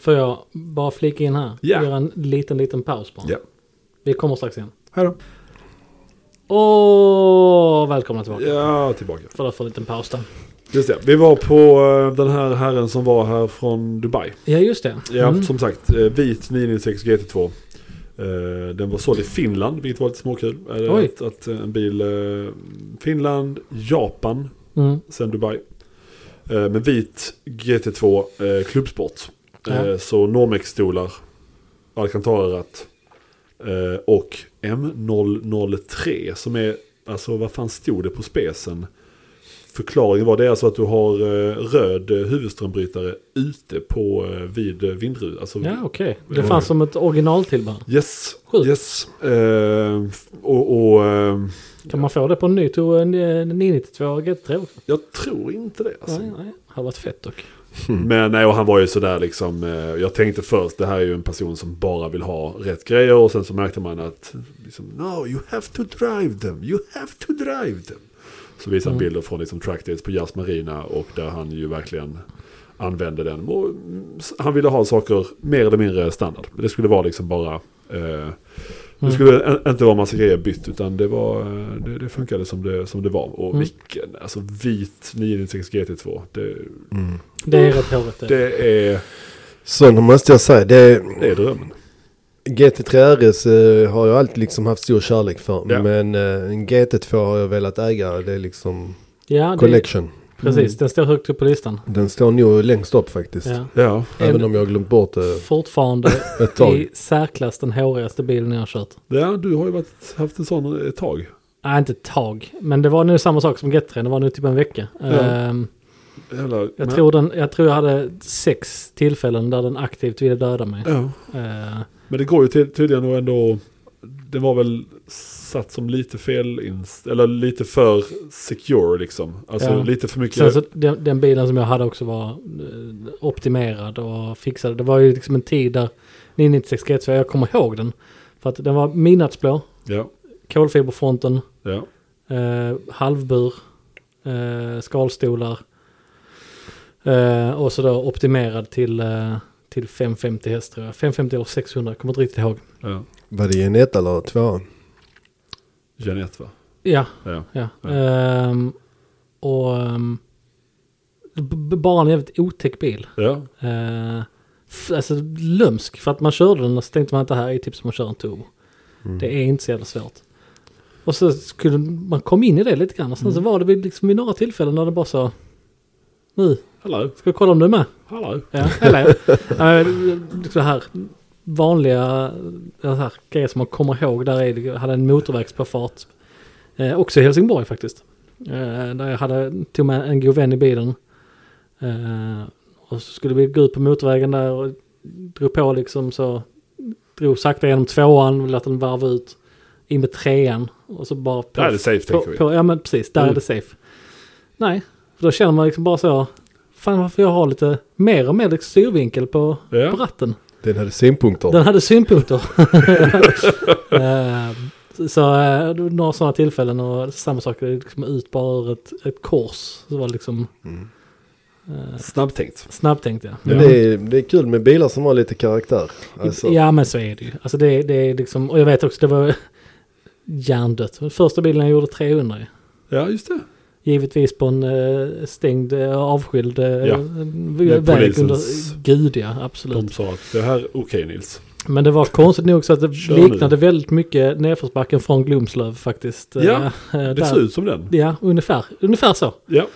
Speaker 1: Får jag bara flika in här?
Speaker 2: Ja.
Speaker 1: Göra en liten, liten paus bara.
Speaker 2: Ja.
Speaker 1: Vi kommer strax igen.
Speaker 2: Hej då.
Speaker 1: Åh, välkomna tillbaka.
Speaker 2: Ja, tillbaka.
Speaker 1: Förlåt för en liten paus där.
Speaker 2: Just det. Vi var på eh, den här herren som var här från Dubai.
Speaker 1: Ja, just det.
Speaker 2: Ja,
Speaker 1: Mm.
Speaker 2: som sagt. eh, Vit 996 GT2. Eh, Den var såld i Finland, vilket var lite småkul. Eh,
Speaker 1: Oj.
Speaker 2: Att, att en bil... eh, Finland, Japan,
Speaker 1: Mm.
Speaker 2: sen Dubai. Eh, Men vit GT2 eh, klubbsport. Eh,
Speaker 1: Ja.
Speaker 2: Så Normex-stolar, Alcantara-ratt eh, och M003 som är, alltså vad fan stod det på specen? Förklaringen var det är alltså att du har eh, röd eh, huvudströmbrytare ute på eh, vid eh, vindrutan. Alltså,
Speaker 1: Ja, okej.
Speaker 2: Ja.
Speaker 1: Det fanns som ett originaltillbehör.
Speaker 2: Yes,
Speaker 1: Sjukt.
Speaker 2: yes. Eh, f- och och eh,
Speaker 1: Kan man få det på en ny Tore en, en 992 GT3 också?
Speaker 2: jag tror inte det. Alltså.
Speaker 1: Nej, nej. Har varit fett dock.
Speaker 2: Men nej, och han var ju sådär liksom. eh, Jag tänkte först, det här är ju en person som bara vill ha rätt grejer. Och sen så märkte man att, liksom, no, you have to drive them, you have to drive them. Så visar han bilder från liksom, trackdates på Jazz Marina och där han ju verkligen använde den. Och, mm, s- han ville ha saker mer eller mindre standard. Det skulle vara liksom bara... Eh, det skulle en- inte vara massa grejer bytt utan det, var, eh, det, det funkade som det, som det var. Och vilken, alltså vit 996 GT2. Det,
Speaker 1: Det är rätt håret det.
Speaker 2: det är,
Speaker 3: Så nu måste jag säga, det är,
Speaker 2: det är drömmen.
Speaker 3: GT3 RS eh, har jag alltid liksom haft stor kärlek för.
Speaker 2: Ja.
Speaker 3: Men eh, en GT2 har jag velat äga. Det är liksom
Speaker 1: Ja, det,
Speaker 3: collection.
Speaker 1: precis. Den står högt upp på listan.
Speaker 3: Den står nog längst upp faktiskt.
Speaker 1: Ja.
Speaker 2: Ja,
Speaker 3: Även
Speaker 1: En-
Speaker 3: om jag har glömt bort det
Speaker 1: Fortfarande
Speaker 3: ett tag.
Speaker 1: i särklass den hårigaste bilen jag har kört.
Speaker 2: ja du har ju varit, haft en sån ett tag.
Speaker 1: Nej, inte ett tag. Men det var nu samma sak som GT3. Det var nu typ en vecka. Ehm,
Speaker 2: Jävla,
Speaker 1: jag,
Speaker 2: men-
Speaker 1: tror den, jag tror jag hade sex tillfällen där den aktivt ville döda mig.
Speaker 2: Ja,
Speaker 1: Ehm,
Speaker 2: men det går ju ty- tydligen att ändå... Det var väl satt som lite fel, inst- eller lite för secure liksom. Alltså
Speaker 1: Ja.
Speaker 2: lite för mycket...
Speaker 1: Sen så den, den bilen som jag hade också var eh, optimerad och fixad. Det var ju liksom en tid där 996 GT2, jag kommer ihåg den. För att den var midnattsblå,
Speaker 2: ja,
Speaker 1: kolfiberfronten,
Speaker 2: ja.
Speaker 1: eh, halvbur, eh, skalstolar. Eh, och så då optimerad till, eh, till 550 häst tror jag. 550 eller 600, kommer inte riktigt ihåg.
Speaker 2: Ja.
Speaker 3: Var det en etta eller tvåa?
Speaker 2: Jeanette va?
Speaker 1: Ja,
Speaker 2: Ja.
Speaker 1: ja.
Speaker 2: Ja.
Speaker 1: Ehm, och ehm, b- b- bara en jävligt otäck bil.
Speaker 2: ja.
Speaker 1: Eh, f- alltså lömsk, för att man körde den och så tänkte man att det här är typ som att köra en turbo.
Speaker 3: Mm.
Speaker 1: Det är inte så jävla svårt. Och så skulle man komma in i det lite grann och sen så var det vid, liksom vid några tillfällen när det bara så nu
Speaker 2: Hallå,
Speaker 1: ska jag kolla om du är med.
Speaker 2: hallå.
Speaker 1: Ja, eller eh, liksom här vanliga eh, så här, grejer som man kommer ihåg. Där är, jag hade en motorvägspåfart. Eh, också i Helsingborg faktiskt. Eh, där jag hade, tog med en god vän i bilen. Eh, och så skulle vi gå ut på motorvägen där och drog på liksom så. Drog sakta genom tvåan och lät den varva ut. In med trean. Och så bara på,
Speaker 2: Där är det safe
Speaker 1: på,
Speaker 2: tänker vi.
Speaker 1: på, ja men precis, där är
Speaker 2: Mm.
Speaker 1: det safe. Nej, för då känner man liksom bara så. Fan varför jag har lite mer och mer liksom styrvinkel på,
Speaker 2: Ja.
Speaker 1: på ratten.
Speaker 3: Den hade synpunkter.
Speaker 1: Den hade synpunkter. Eh, så- så eh, det var några sådana tillfällen och samma sak, det liksom ut bara ur ett, ett kors. Så var det liksom eh,
Speaker 2: Snabbtänkt.
Speaker 1: snabbtänkt ja.
Speaker 3: Mm. Men det, är, det är kul med bilar som har lite karaktär. Alltså,
Speaker 1: Ja men så är det ju. Alltså det, det är liksom, och jag vet också det var hjärndött. Första bilen jag gjorde 300 ju.
Speaker 2: Ja, just det.
Speaker 1: Givetvis på en eh, stängd, eh, avskild eh,
Speaker 2: Ja.
Speaker 1: väg under...
Speaker 2: polisens-
Speaker 1: Gud ja, absolut.
Speaker 2: De sa att det här är okej Nils.
Speaker 1: Men det var konstigt nog så att det
Speaker 2: Kör nu.
Speaker 1: liknade väldigt mycket nedförsbacken från Glumslöv faktiskt.
Speaker 2: Ja,
Speaker 1: Eh,
Speaker 2: Det
Speaker 1: där.
Speaker 2: ser ut som den.
Speaker 1: Ja, ungefär, ungefär så.
Speaker 2: Ja.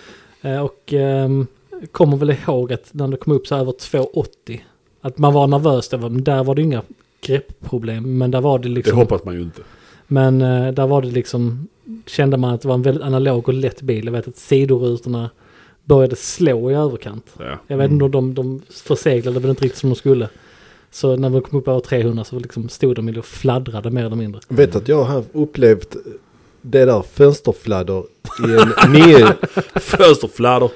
Speaker 1: Eh, Och ehm, kommer väl ihåg att när det kom upp så här över 2,80 att man var nervös. Det var, men där var det inga greppproblem, men där var det
Speaker 2: Det
Speaker 1: liksom...
Speaker 2: hoppas man ju inte.
Speaker 1: Men eh, där var det liksom, kände man att det var en väldigt analog och lätt bil. Jag vet att sidorutorna började slå i överkant.
Speaker 2: Ja.
Speaker 1: Jag vet inte om de, de förseglade väl inte riktigt som de skulle. Så när de kom upp över 300 så liksom stod de och fladdrade mer eller mindre.
Speaker 3: Vet att jag har upplevt det där fönsterfladder i en, 9,
Speaker 2: Fönsterfladder.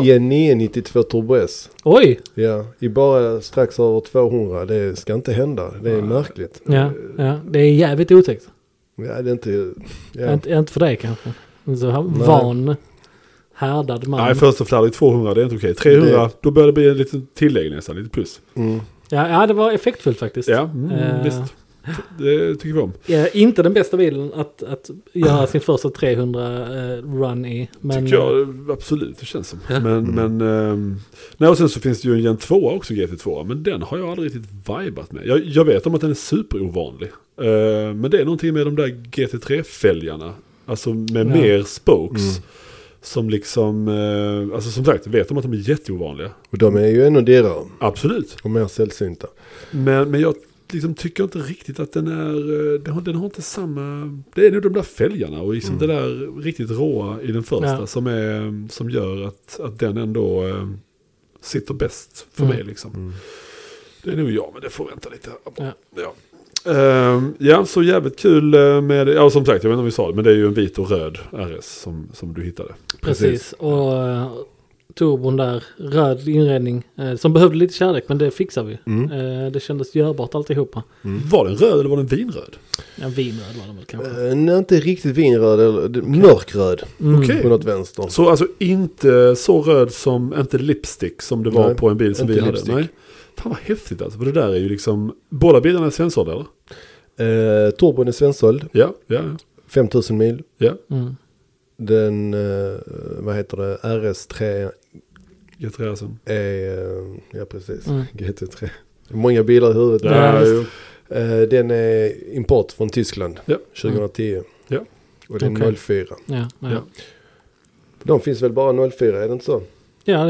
Speaker 3: eh, i en 992 Turbo S.
Speaker 1: Oj!
Speaker 3: Ja, i bara strax över 200. Det ska inte hända. Det är märkligt.
Speaker 1: Ja, ja det är jävligt otäckt.
Speaker 3: Ja, det är inte... Ja.
Speaker 1: Inte, inte för dig kanske. En Så här van, härdad man.
Speaker 2: Nej, fönsterfladder i 200 det är inte okej. 300, då börjar det bli en liten tillägg nästan, lite plus.
Speaker 3: Mm.
Speaker 1: ja, ja, det var effektfullt faktiskt.
Speaker 2: Ja, mm,
Speaker 1: Eh.
Speaker 2: visst. Det tycker vi om.
Speaker 1: Eh, inte den bästa bilen att, att göra sin första 300 eh, run i. Men, eh,
Speaker 2: Tycker jag absolut, det känns som. Men, men, ehm, nej, och sen så finns det ju en Gen 2 också, GT2, men den har jag aldrig riktigt vibat med. Jag, jag vet om att den är superovanlig. Eh, men det är någonting med de där GT3-fälgarna, alltså med mer spokes. Som liksom, eh, alltså som sagt, vet om att de är jätteovanliga.
Speaker 3: Och de är ju ännu dyrare
Speaker 2: Absolut.
Speaker 3: och mer sällsynta.
Speaker 2: Men, men jag liksom tycker inte riktigt att den är, eh, den har, den har inte samma, det är nog de där fälgarna och liksom det där riktigt råa i den första
Speaker 1: Mm. Ja.
Speaker 2: som, är, som gör att, att den ändå eh, sitter bäst för
Speaker 1: Mm.
Speaker 2: mig liksom. Det är nog jag, men det får vänta lite. här.
Speaker 1: Ja.
Speaker 2: Ja. Ehm, ja, så jävligt kul eh, med, ja som sagt, jag vet inte om vi sa det, men det är ju en vit och röd RS som, som du hittade.
Speaker 1: Precis. Och eh, turbon där, röd inredning. Eh, som behövde lite kärlek men det fixar vi. Eh, det kändes görbart alltihopa.
Speaker 2: Var den röd eller var den vinröd?
Speaker 1: Ja, vinröd var det väl kanske.
Speaker 3: Eh, nej, inte riktigt vinröd, eller det- mörkröd
Speaker 1: Mm.
Speaker 2: Okej.
Speaker 3: på något vänster.
Speaker 2: Så alltså inte så röd som, inte lipstick som det var
Speaker 3: Nej,
Speaker 2: på en bil som
Speaker 3: inte
Speaker 2: vi
Speaker 3: lipstick.
Speaker 2: hade. Nej. Fan vad häftigt alltså, för det där är ju liksom, båda bilarna är sensor eller?
Speaker 3: Eh, turbon är svensåld,
Speaker 2: Ja, ja, ja.
Speaker 3: 5000 mil.
Speaker 2: ja.
Speaker 1: Mm.
Speaker 3: Den, eh, vad heter det, RS3
Speaker 2: Jag tror jag sen.
Speaker 3: är, eh, ja precis,
Speaker 1: Mm.
Speaker 3: GT3. Många bilar i huvudet.
Speaker 1: Ja,
Speaker 2: Ja,
Speaker 1: just-
Speaker 2: jo.
Speaker 3: Eh, den är import från Tyskland,
Speaker 2: Ja. Mm.
Speaker 3: 2010.
Speaker 2: Ja.
Speaker 3: Och den är
Speaker 1: Okej.
Speaker 3: 04.
Speaker 1: Ja, ja.
Speaker 2: Ja.
Speaker 1: Ja.
Speaker 3: De finns väl bara 04, är det inte så?
Speaker 1: ja,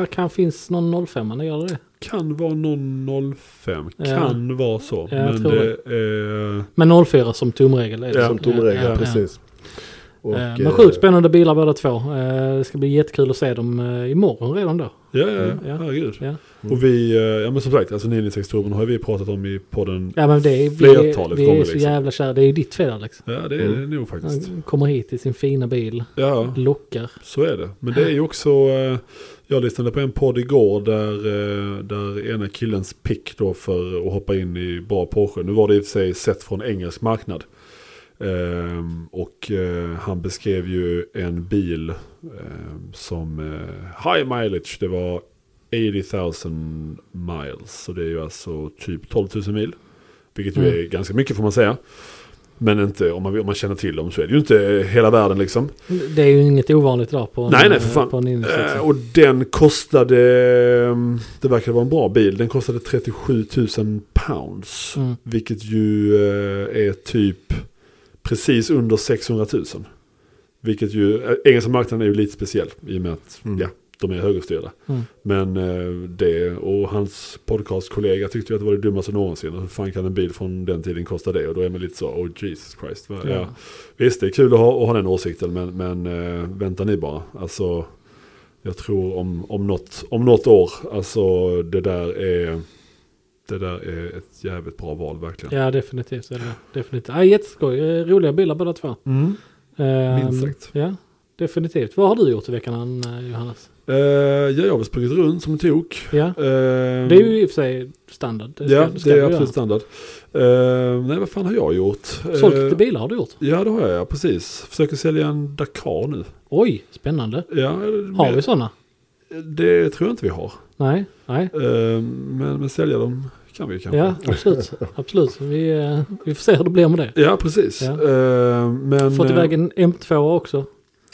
Speaker 1: det kan finns någon 05 det gör det.
Speaker 2: Kan vara någon 05,
Speaker 1: Ja.
Speaker 2: kan vara så.
Speaker 1: Ja, jag
Speaker 2: men
Speaker 1: tror
Speaker 2: det är...
Speaker 1: Men 04 som tumregel är det.
Speaker 2: Ja.
Speaker 3: Som tomregel,
Speaker 1: Ja, ja,
Speaker 3: precis. Och,
Speaker 1: Ja. Eh,
Speaker 3: eh,
Speaker 1: Men sjukt spännande bilar båda två. Eh, Det ska bli jättekul att se dem eh, imorgon redan då.
Speaker 2: Ja, ja, ja,
Speaker 1: Mm, ja.
Speaker 2: herregud.
Speaker 1: Ja,
Speaker 2: Och vi, eh, ja men som sagt, alltså 996 turbon har vi pratat om i podden.
Speaker 1: ja men det är, vi,
Speaker 2: Flertalet
Speaker 1: vi
Speaker 2: gånger,
Speaker 1: är så
Speaker 2: liksom.
Speaker 1: jävla kära. Det är ju ditt fel Alex.
Speaker 2: Ja, det är
Speaker 3: Mm.
Speaker 2: det nog faktiskt.
Speaker 1: Han kommer hit i sin fina bil,
Speaker 2: Ja.
Speaker 1: lockar.
Speaker 2: Så är det. Men det är ju också, eh, jag lyssnade på en podd igår där, eh, där ena killens pick då för att hoppa in i bra Porsche. Nu var det i och för sig sett från engelsk marknad. Eh, Ehm, och eh, han beskrev ju en bil ehm, som eh, high mileage. Det var 80 000 miles. Så det är ju alltså typ 12 000 mil. Vilket ju
Speaker 1: Mm.
Speaker 2: är ganska mycket får man säga. Men inte, om, man, om man känner till dem så är det ju inte hela världen liksom.
Speaker 1: Det är ju inget ovanligt idag på en,
Speaker 2: Nej, nej, för fan.
Speaker 1: På en Index,
Speaker 2: Eh,
Speaker 1: liksom.
Speaker 2: och den kostade, ehm, det verkar vara en bra bil, den kostade 37 000 pounds.
Speaker 1: Mm.
Speaker 2: Vilket ju eh, är typ precis under 600 000. Vilket ju, eh, engelska marknaden är ju lite speciell i och med att
Speaker 3: Mm.
Speaker 2: ja, de är högerstyrda.
Speaker 1: Mm.
Speaker 2: Men eh, det och hans podcastkollega tyckte ju att det var det dummaste någonsin. Hur fan kan en bil från den tiden kosta det? Och då är man lite så, oh Jesus Christ. Vad, ja.
Speaker 1: Ja.
Speaker 2: Visst, det är kul att ha, att ha den åsikten, men, men eh, vänta ni bara. Alltså, jag tror om, om, något, om något år, alltså det där är... Det där är ett jävligt bra val verkligen.
Speaker 1: Ja, definitivt. så Är det. definitivt. Ah, jätteskoj. Eh, Roliga bilder båda två.
Speaker 2: Mm.
Speaker 1: Ehm,
Speaker 2: Minst sagt.
Speaker 1: Ja, definitivt. Vad har du gjort i veckan eh, Johannes?
Speaker 2: Eh, ja, jag har väl sprungit runt som en tok.
Speaker 1: Ja,
Speaker 2: Eh,
Speaker 1: det är ju i och för sig standard. Det ska,
Speaker 2: ja,
Speaker 1: ska
Speaker 2: det
Speaker 1: du
Speaker 2: är
Speaker 1: göra.
Speaker 2: absolut standard. Eh, nej, vad fan har jag gjort?
Speaker 1: Sålt
Speaker 2: Eh,
Speaker 1: lite bilar har du gjort.
Speaker 2: Ja, det har jag, ja, precis. Försöker sälja en Dakar nu.
Speaker 1: Oj, spännande.
Speaker 2: Ja,
Speaker 1: Har vi sådana?
Speaker 2: Det tror jag inte vi har.
Speaker 1: Nej, nej.
Speaker 2: Eh, men, men sälja dem kan vi kanske.
Speaker 1: Ja, absolut. absolut. Vi, eh, vi får se hur det blir med det.
Speaker 2: Ja, precis.
Speaker 1: Ja.
Speaker 2: Eh, men,
Speaker 1: Fått
Speaker 2: eh,
Speaker 1: iväg en M2 också.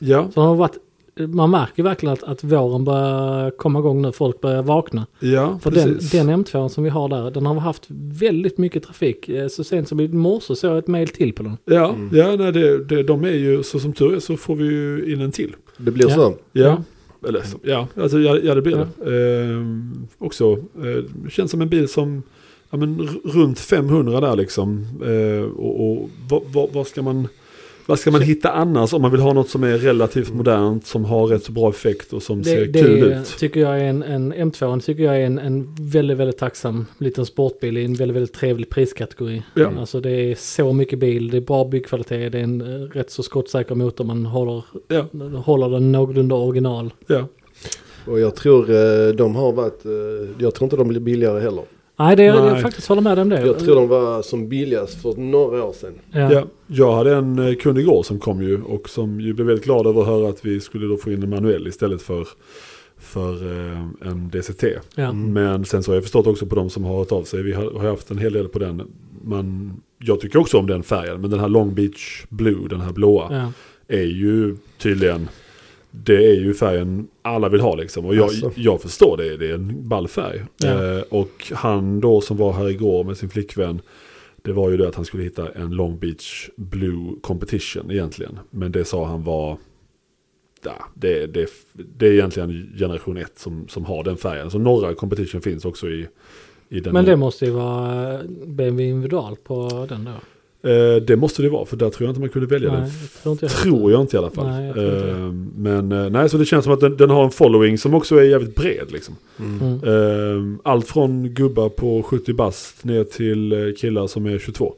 Speaker 2: Ja,
Speaker 1: Så har varit, man märker verkligen att, att våren börjar komma igång nu. Folk börjar vakna.
Speaker 2: ja
Speaker 1: För den,
Speaker 2: precis.
Speaker 1: den M2 som vi har där, den har haft väldigt mycket trafik. Eh, Så sent som i morse såg jag ett mail till på den.
Speaker 2: Ja,
Speaker 3: Mm.
Speaker 2: ja nej, det, det, de är ju, så som tur är så får vi ju in en till.
Speaker 3: Det blir
Speaker 1: Ja.
Speaker 3: så.
Speaker 2: Ja, eller så, ja, alltså, ja, ja det blir
Speaker 1: Mm. Ja.
Speaker 2: det. Ehm, också, eh, känns som en bil som, ja men r- runt 500 där liksom. Eh, och och vad, vad, vad ska man, vad ska man hitta annars om man vill ha något som är relativt modernt, som har rätt så bra effekt och som ser
Speaker 1: Det,
Speaker 2: kul
Speaker 1: det
Speaker 2: ut?
Speaker 1: tycker jag är en, en M2 tycker jag är en, en väldigt, väldigt tacksam liten sportbil i en väldigt, väldigt trevlig priskategori.
Speaker 2: Ja.
Speaker 1: Alltså det är så mycket bil, det är bra byggkvalitet, det är en eh, rätt så skottsäker motor, man håller,
Speaker 2: Ja,
Speaker 1: håller den någorlunda original.
Speaker 2: ja.
Speaker 3: Och jag tror eh, de har varit, eh, jag tror inte de blir billigare heller.
Speaker 1: Nej, det är,
Speaker 2: Nej.
Speaker 1: jag faktiskt håller med dig om det.
Speaker 3: Jag tror de var som billigast för några år sedan.
Speaker 1: ja.
Speaker 2: Ja, jag hade en eh, kund igår som kom ju och som ju blev väldigt glad över att höra att vi skulle då få in en manuell istället för, för eh, en DCT.
Speaker 1: Ja.
Speaker 2: Men sen så har jag förstått också på de som har hört av sig, vi har, har haft en hel del på den. Man, jag tycker också om den färgen, men den här Long Beach Blue, den här blåa,
Speaker 1: Ja.
Speaker 2: är ju tydligen, det är ju färgen alla vill ha liksom. Och jag,
Speaker 3: Alltså.
Speaker 2: jag förstår det, det är en ball färg.
Speaker 1: Ja.
Speaker 2: Eh, och han då som var här igår med sin flickvän, det var ju det att han skulle hitta en Long Beach Blue Competition egentligen. Men det sa han var, ja, det, det, det är egentligen generation 1 som, som har den färgen. Så några competition finns också i, i den.
Speaker 1: Men det måste ju vara eh, BMW individual på den då.
Speaker 2: Eh, det måste det vara, för där tror jag inte man kunde välja den
Speaker 1: jag tror inte jag.
Speaker 2: Tror jag inte i alla fall.
Speaker 1: Nej, jag tror inte det.
Speaker 2: Eh, men eh, nej, så det känns som att den, den har en following som också är jävligt bred. Liksom.
Speaker 1: Mm.
Speaker 2: Eh, allt från gubbar på 70 bast ner till eh, killar som är 22.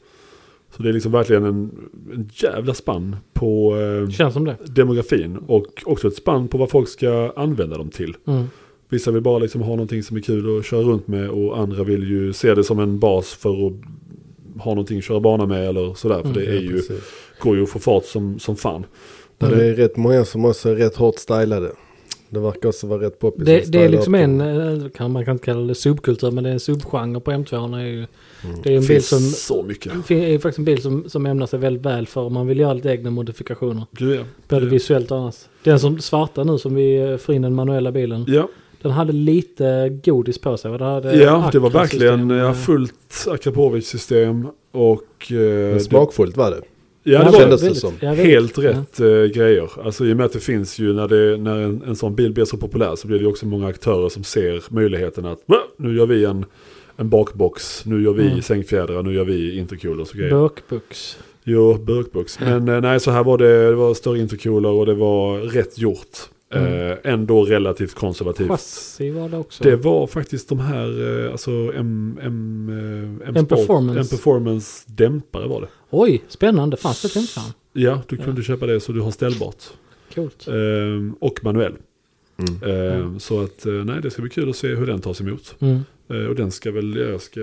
Speaker 2: Så det är liksom verkligen en, en jävla spann på eh,
Speaker 1: Känns som det.
Speaker 2: demografin och också ett spann på vad folk ska använda dem till.
Speaker 1: Mm.
Speaker 2: Vissa vill bara liksom ha någonting som är kul att köra runt med och andra vill ju se det som en bas för att ha någonting att köra bana med eller sådär. För
Speaker 1: Mm,
Speaker 2: det är
Speaker 3: Ja,
Speaker 2: ju,
Speaker 3: precis. Mm.
Speaker 2: går ju att få fart som, som fan.
Speaker 3: Där är rätt många som också är rätt hårt stylade. Det verkar också vara rätt poppis. att
Speaker 1: Det, det
Speaker 3: styla
Speaker 1: är
Speaker 3: upp
Speaker 1: liksom
Speaker 3: dem.
Speaker 1: en, eh, kan, man kan inte kalla det subkultur, men det är en subgenre på M2. Är ju,
Speaker 3: Mm.
Speaker 1: Det är en bil
Speaker 2: finns
Speaker 1: som,
Speaker 2: så mycket.
Speaker 1: det är ju faktiskt en bil som, som ämnar sig väldigt väl för om man vill göra lite egna modifikationer.
Speaker 2: Gud ja.
Speaker 1: Både visuellt och annars. Den som svarta nu som vi eh, får in den manuella bilen.
Speaker 2: Ja,
Speaker 1: Den hade lite godis på sig. Det, hade
Speaker 2: ja det var
Speaker 1: Acra-system,
Speaker 2: verkligen ja,
Speaker 1: eh,
Speaker 2: fullt Akrapovic-system och... Eh,
Speaker 3: Men smakfullt var det.
Speaker 2: det, ja,
Speaker 1: ja,
Speaker 2: det var
Speaker 3: kändes-
Speaker 2: det.
Speaker 3: det
Speaker 1: väldigt-
Speaker 3: som.
Speaker 1: ja, väldigt-
Speaker 2: Helt
Speaker 1: ja.
Speaker 2: rätt eh, grejer. Alltså i och med att det finns ju när, det, när en, en sån bil blir så populär så blir det ju också många aktörer som ser möjligheten att "Va? nu gör vi en, en bakbox, nu gör vi
Speaker 1: Mm.
Speaker 2: sängfjädrar, nu gör vi intercooler och så grejer.
Speaker 1: Bökbux.
Speaker 2: Jo, burkbox. Men eh, nej, så här var det, det var större intercooler och det var rätt gjort.
Speaker 1: Mm.
Speaker 2: Eh, ändå relativt konservativt.
Speaker 1: Chassi var det också.
Speaker 2: Typ. Det var faktiskt de här, eh, alltså M, M, eh,
Speaker 1: M
Speaker 2: M, Sport-
Speaker 1: Performance.
Speaker 2: M Performance dämpare var det.
Speaker 1: Oj, spännande. Fanns det inte fan.
Speaker 2: Ja, du
Speaker 1: Ja.
Speaker 2: kunde köpa det så du har ställbart.
Speaker 1: Coolt.
Speaker 2: Ehm, och manuell.
Speaker 3: Mm.
Speaker 2: Ehm,
Speaker 1: Mm.
Speaker 2: Så att, eh, nej, det ska bli kul att se hur den tas emot. Eh,
Speaker 1: Mm.
Speaker 2: Ehm, och den ska väl, jag ska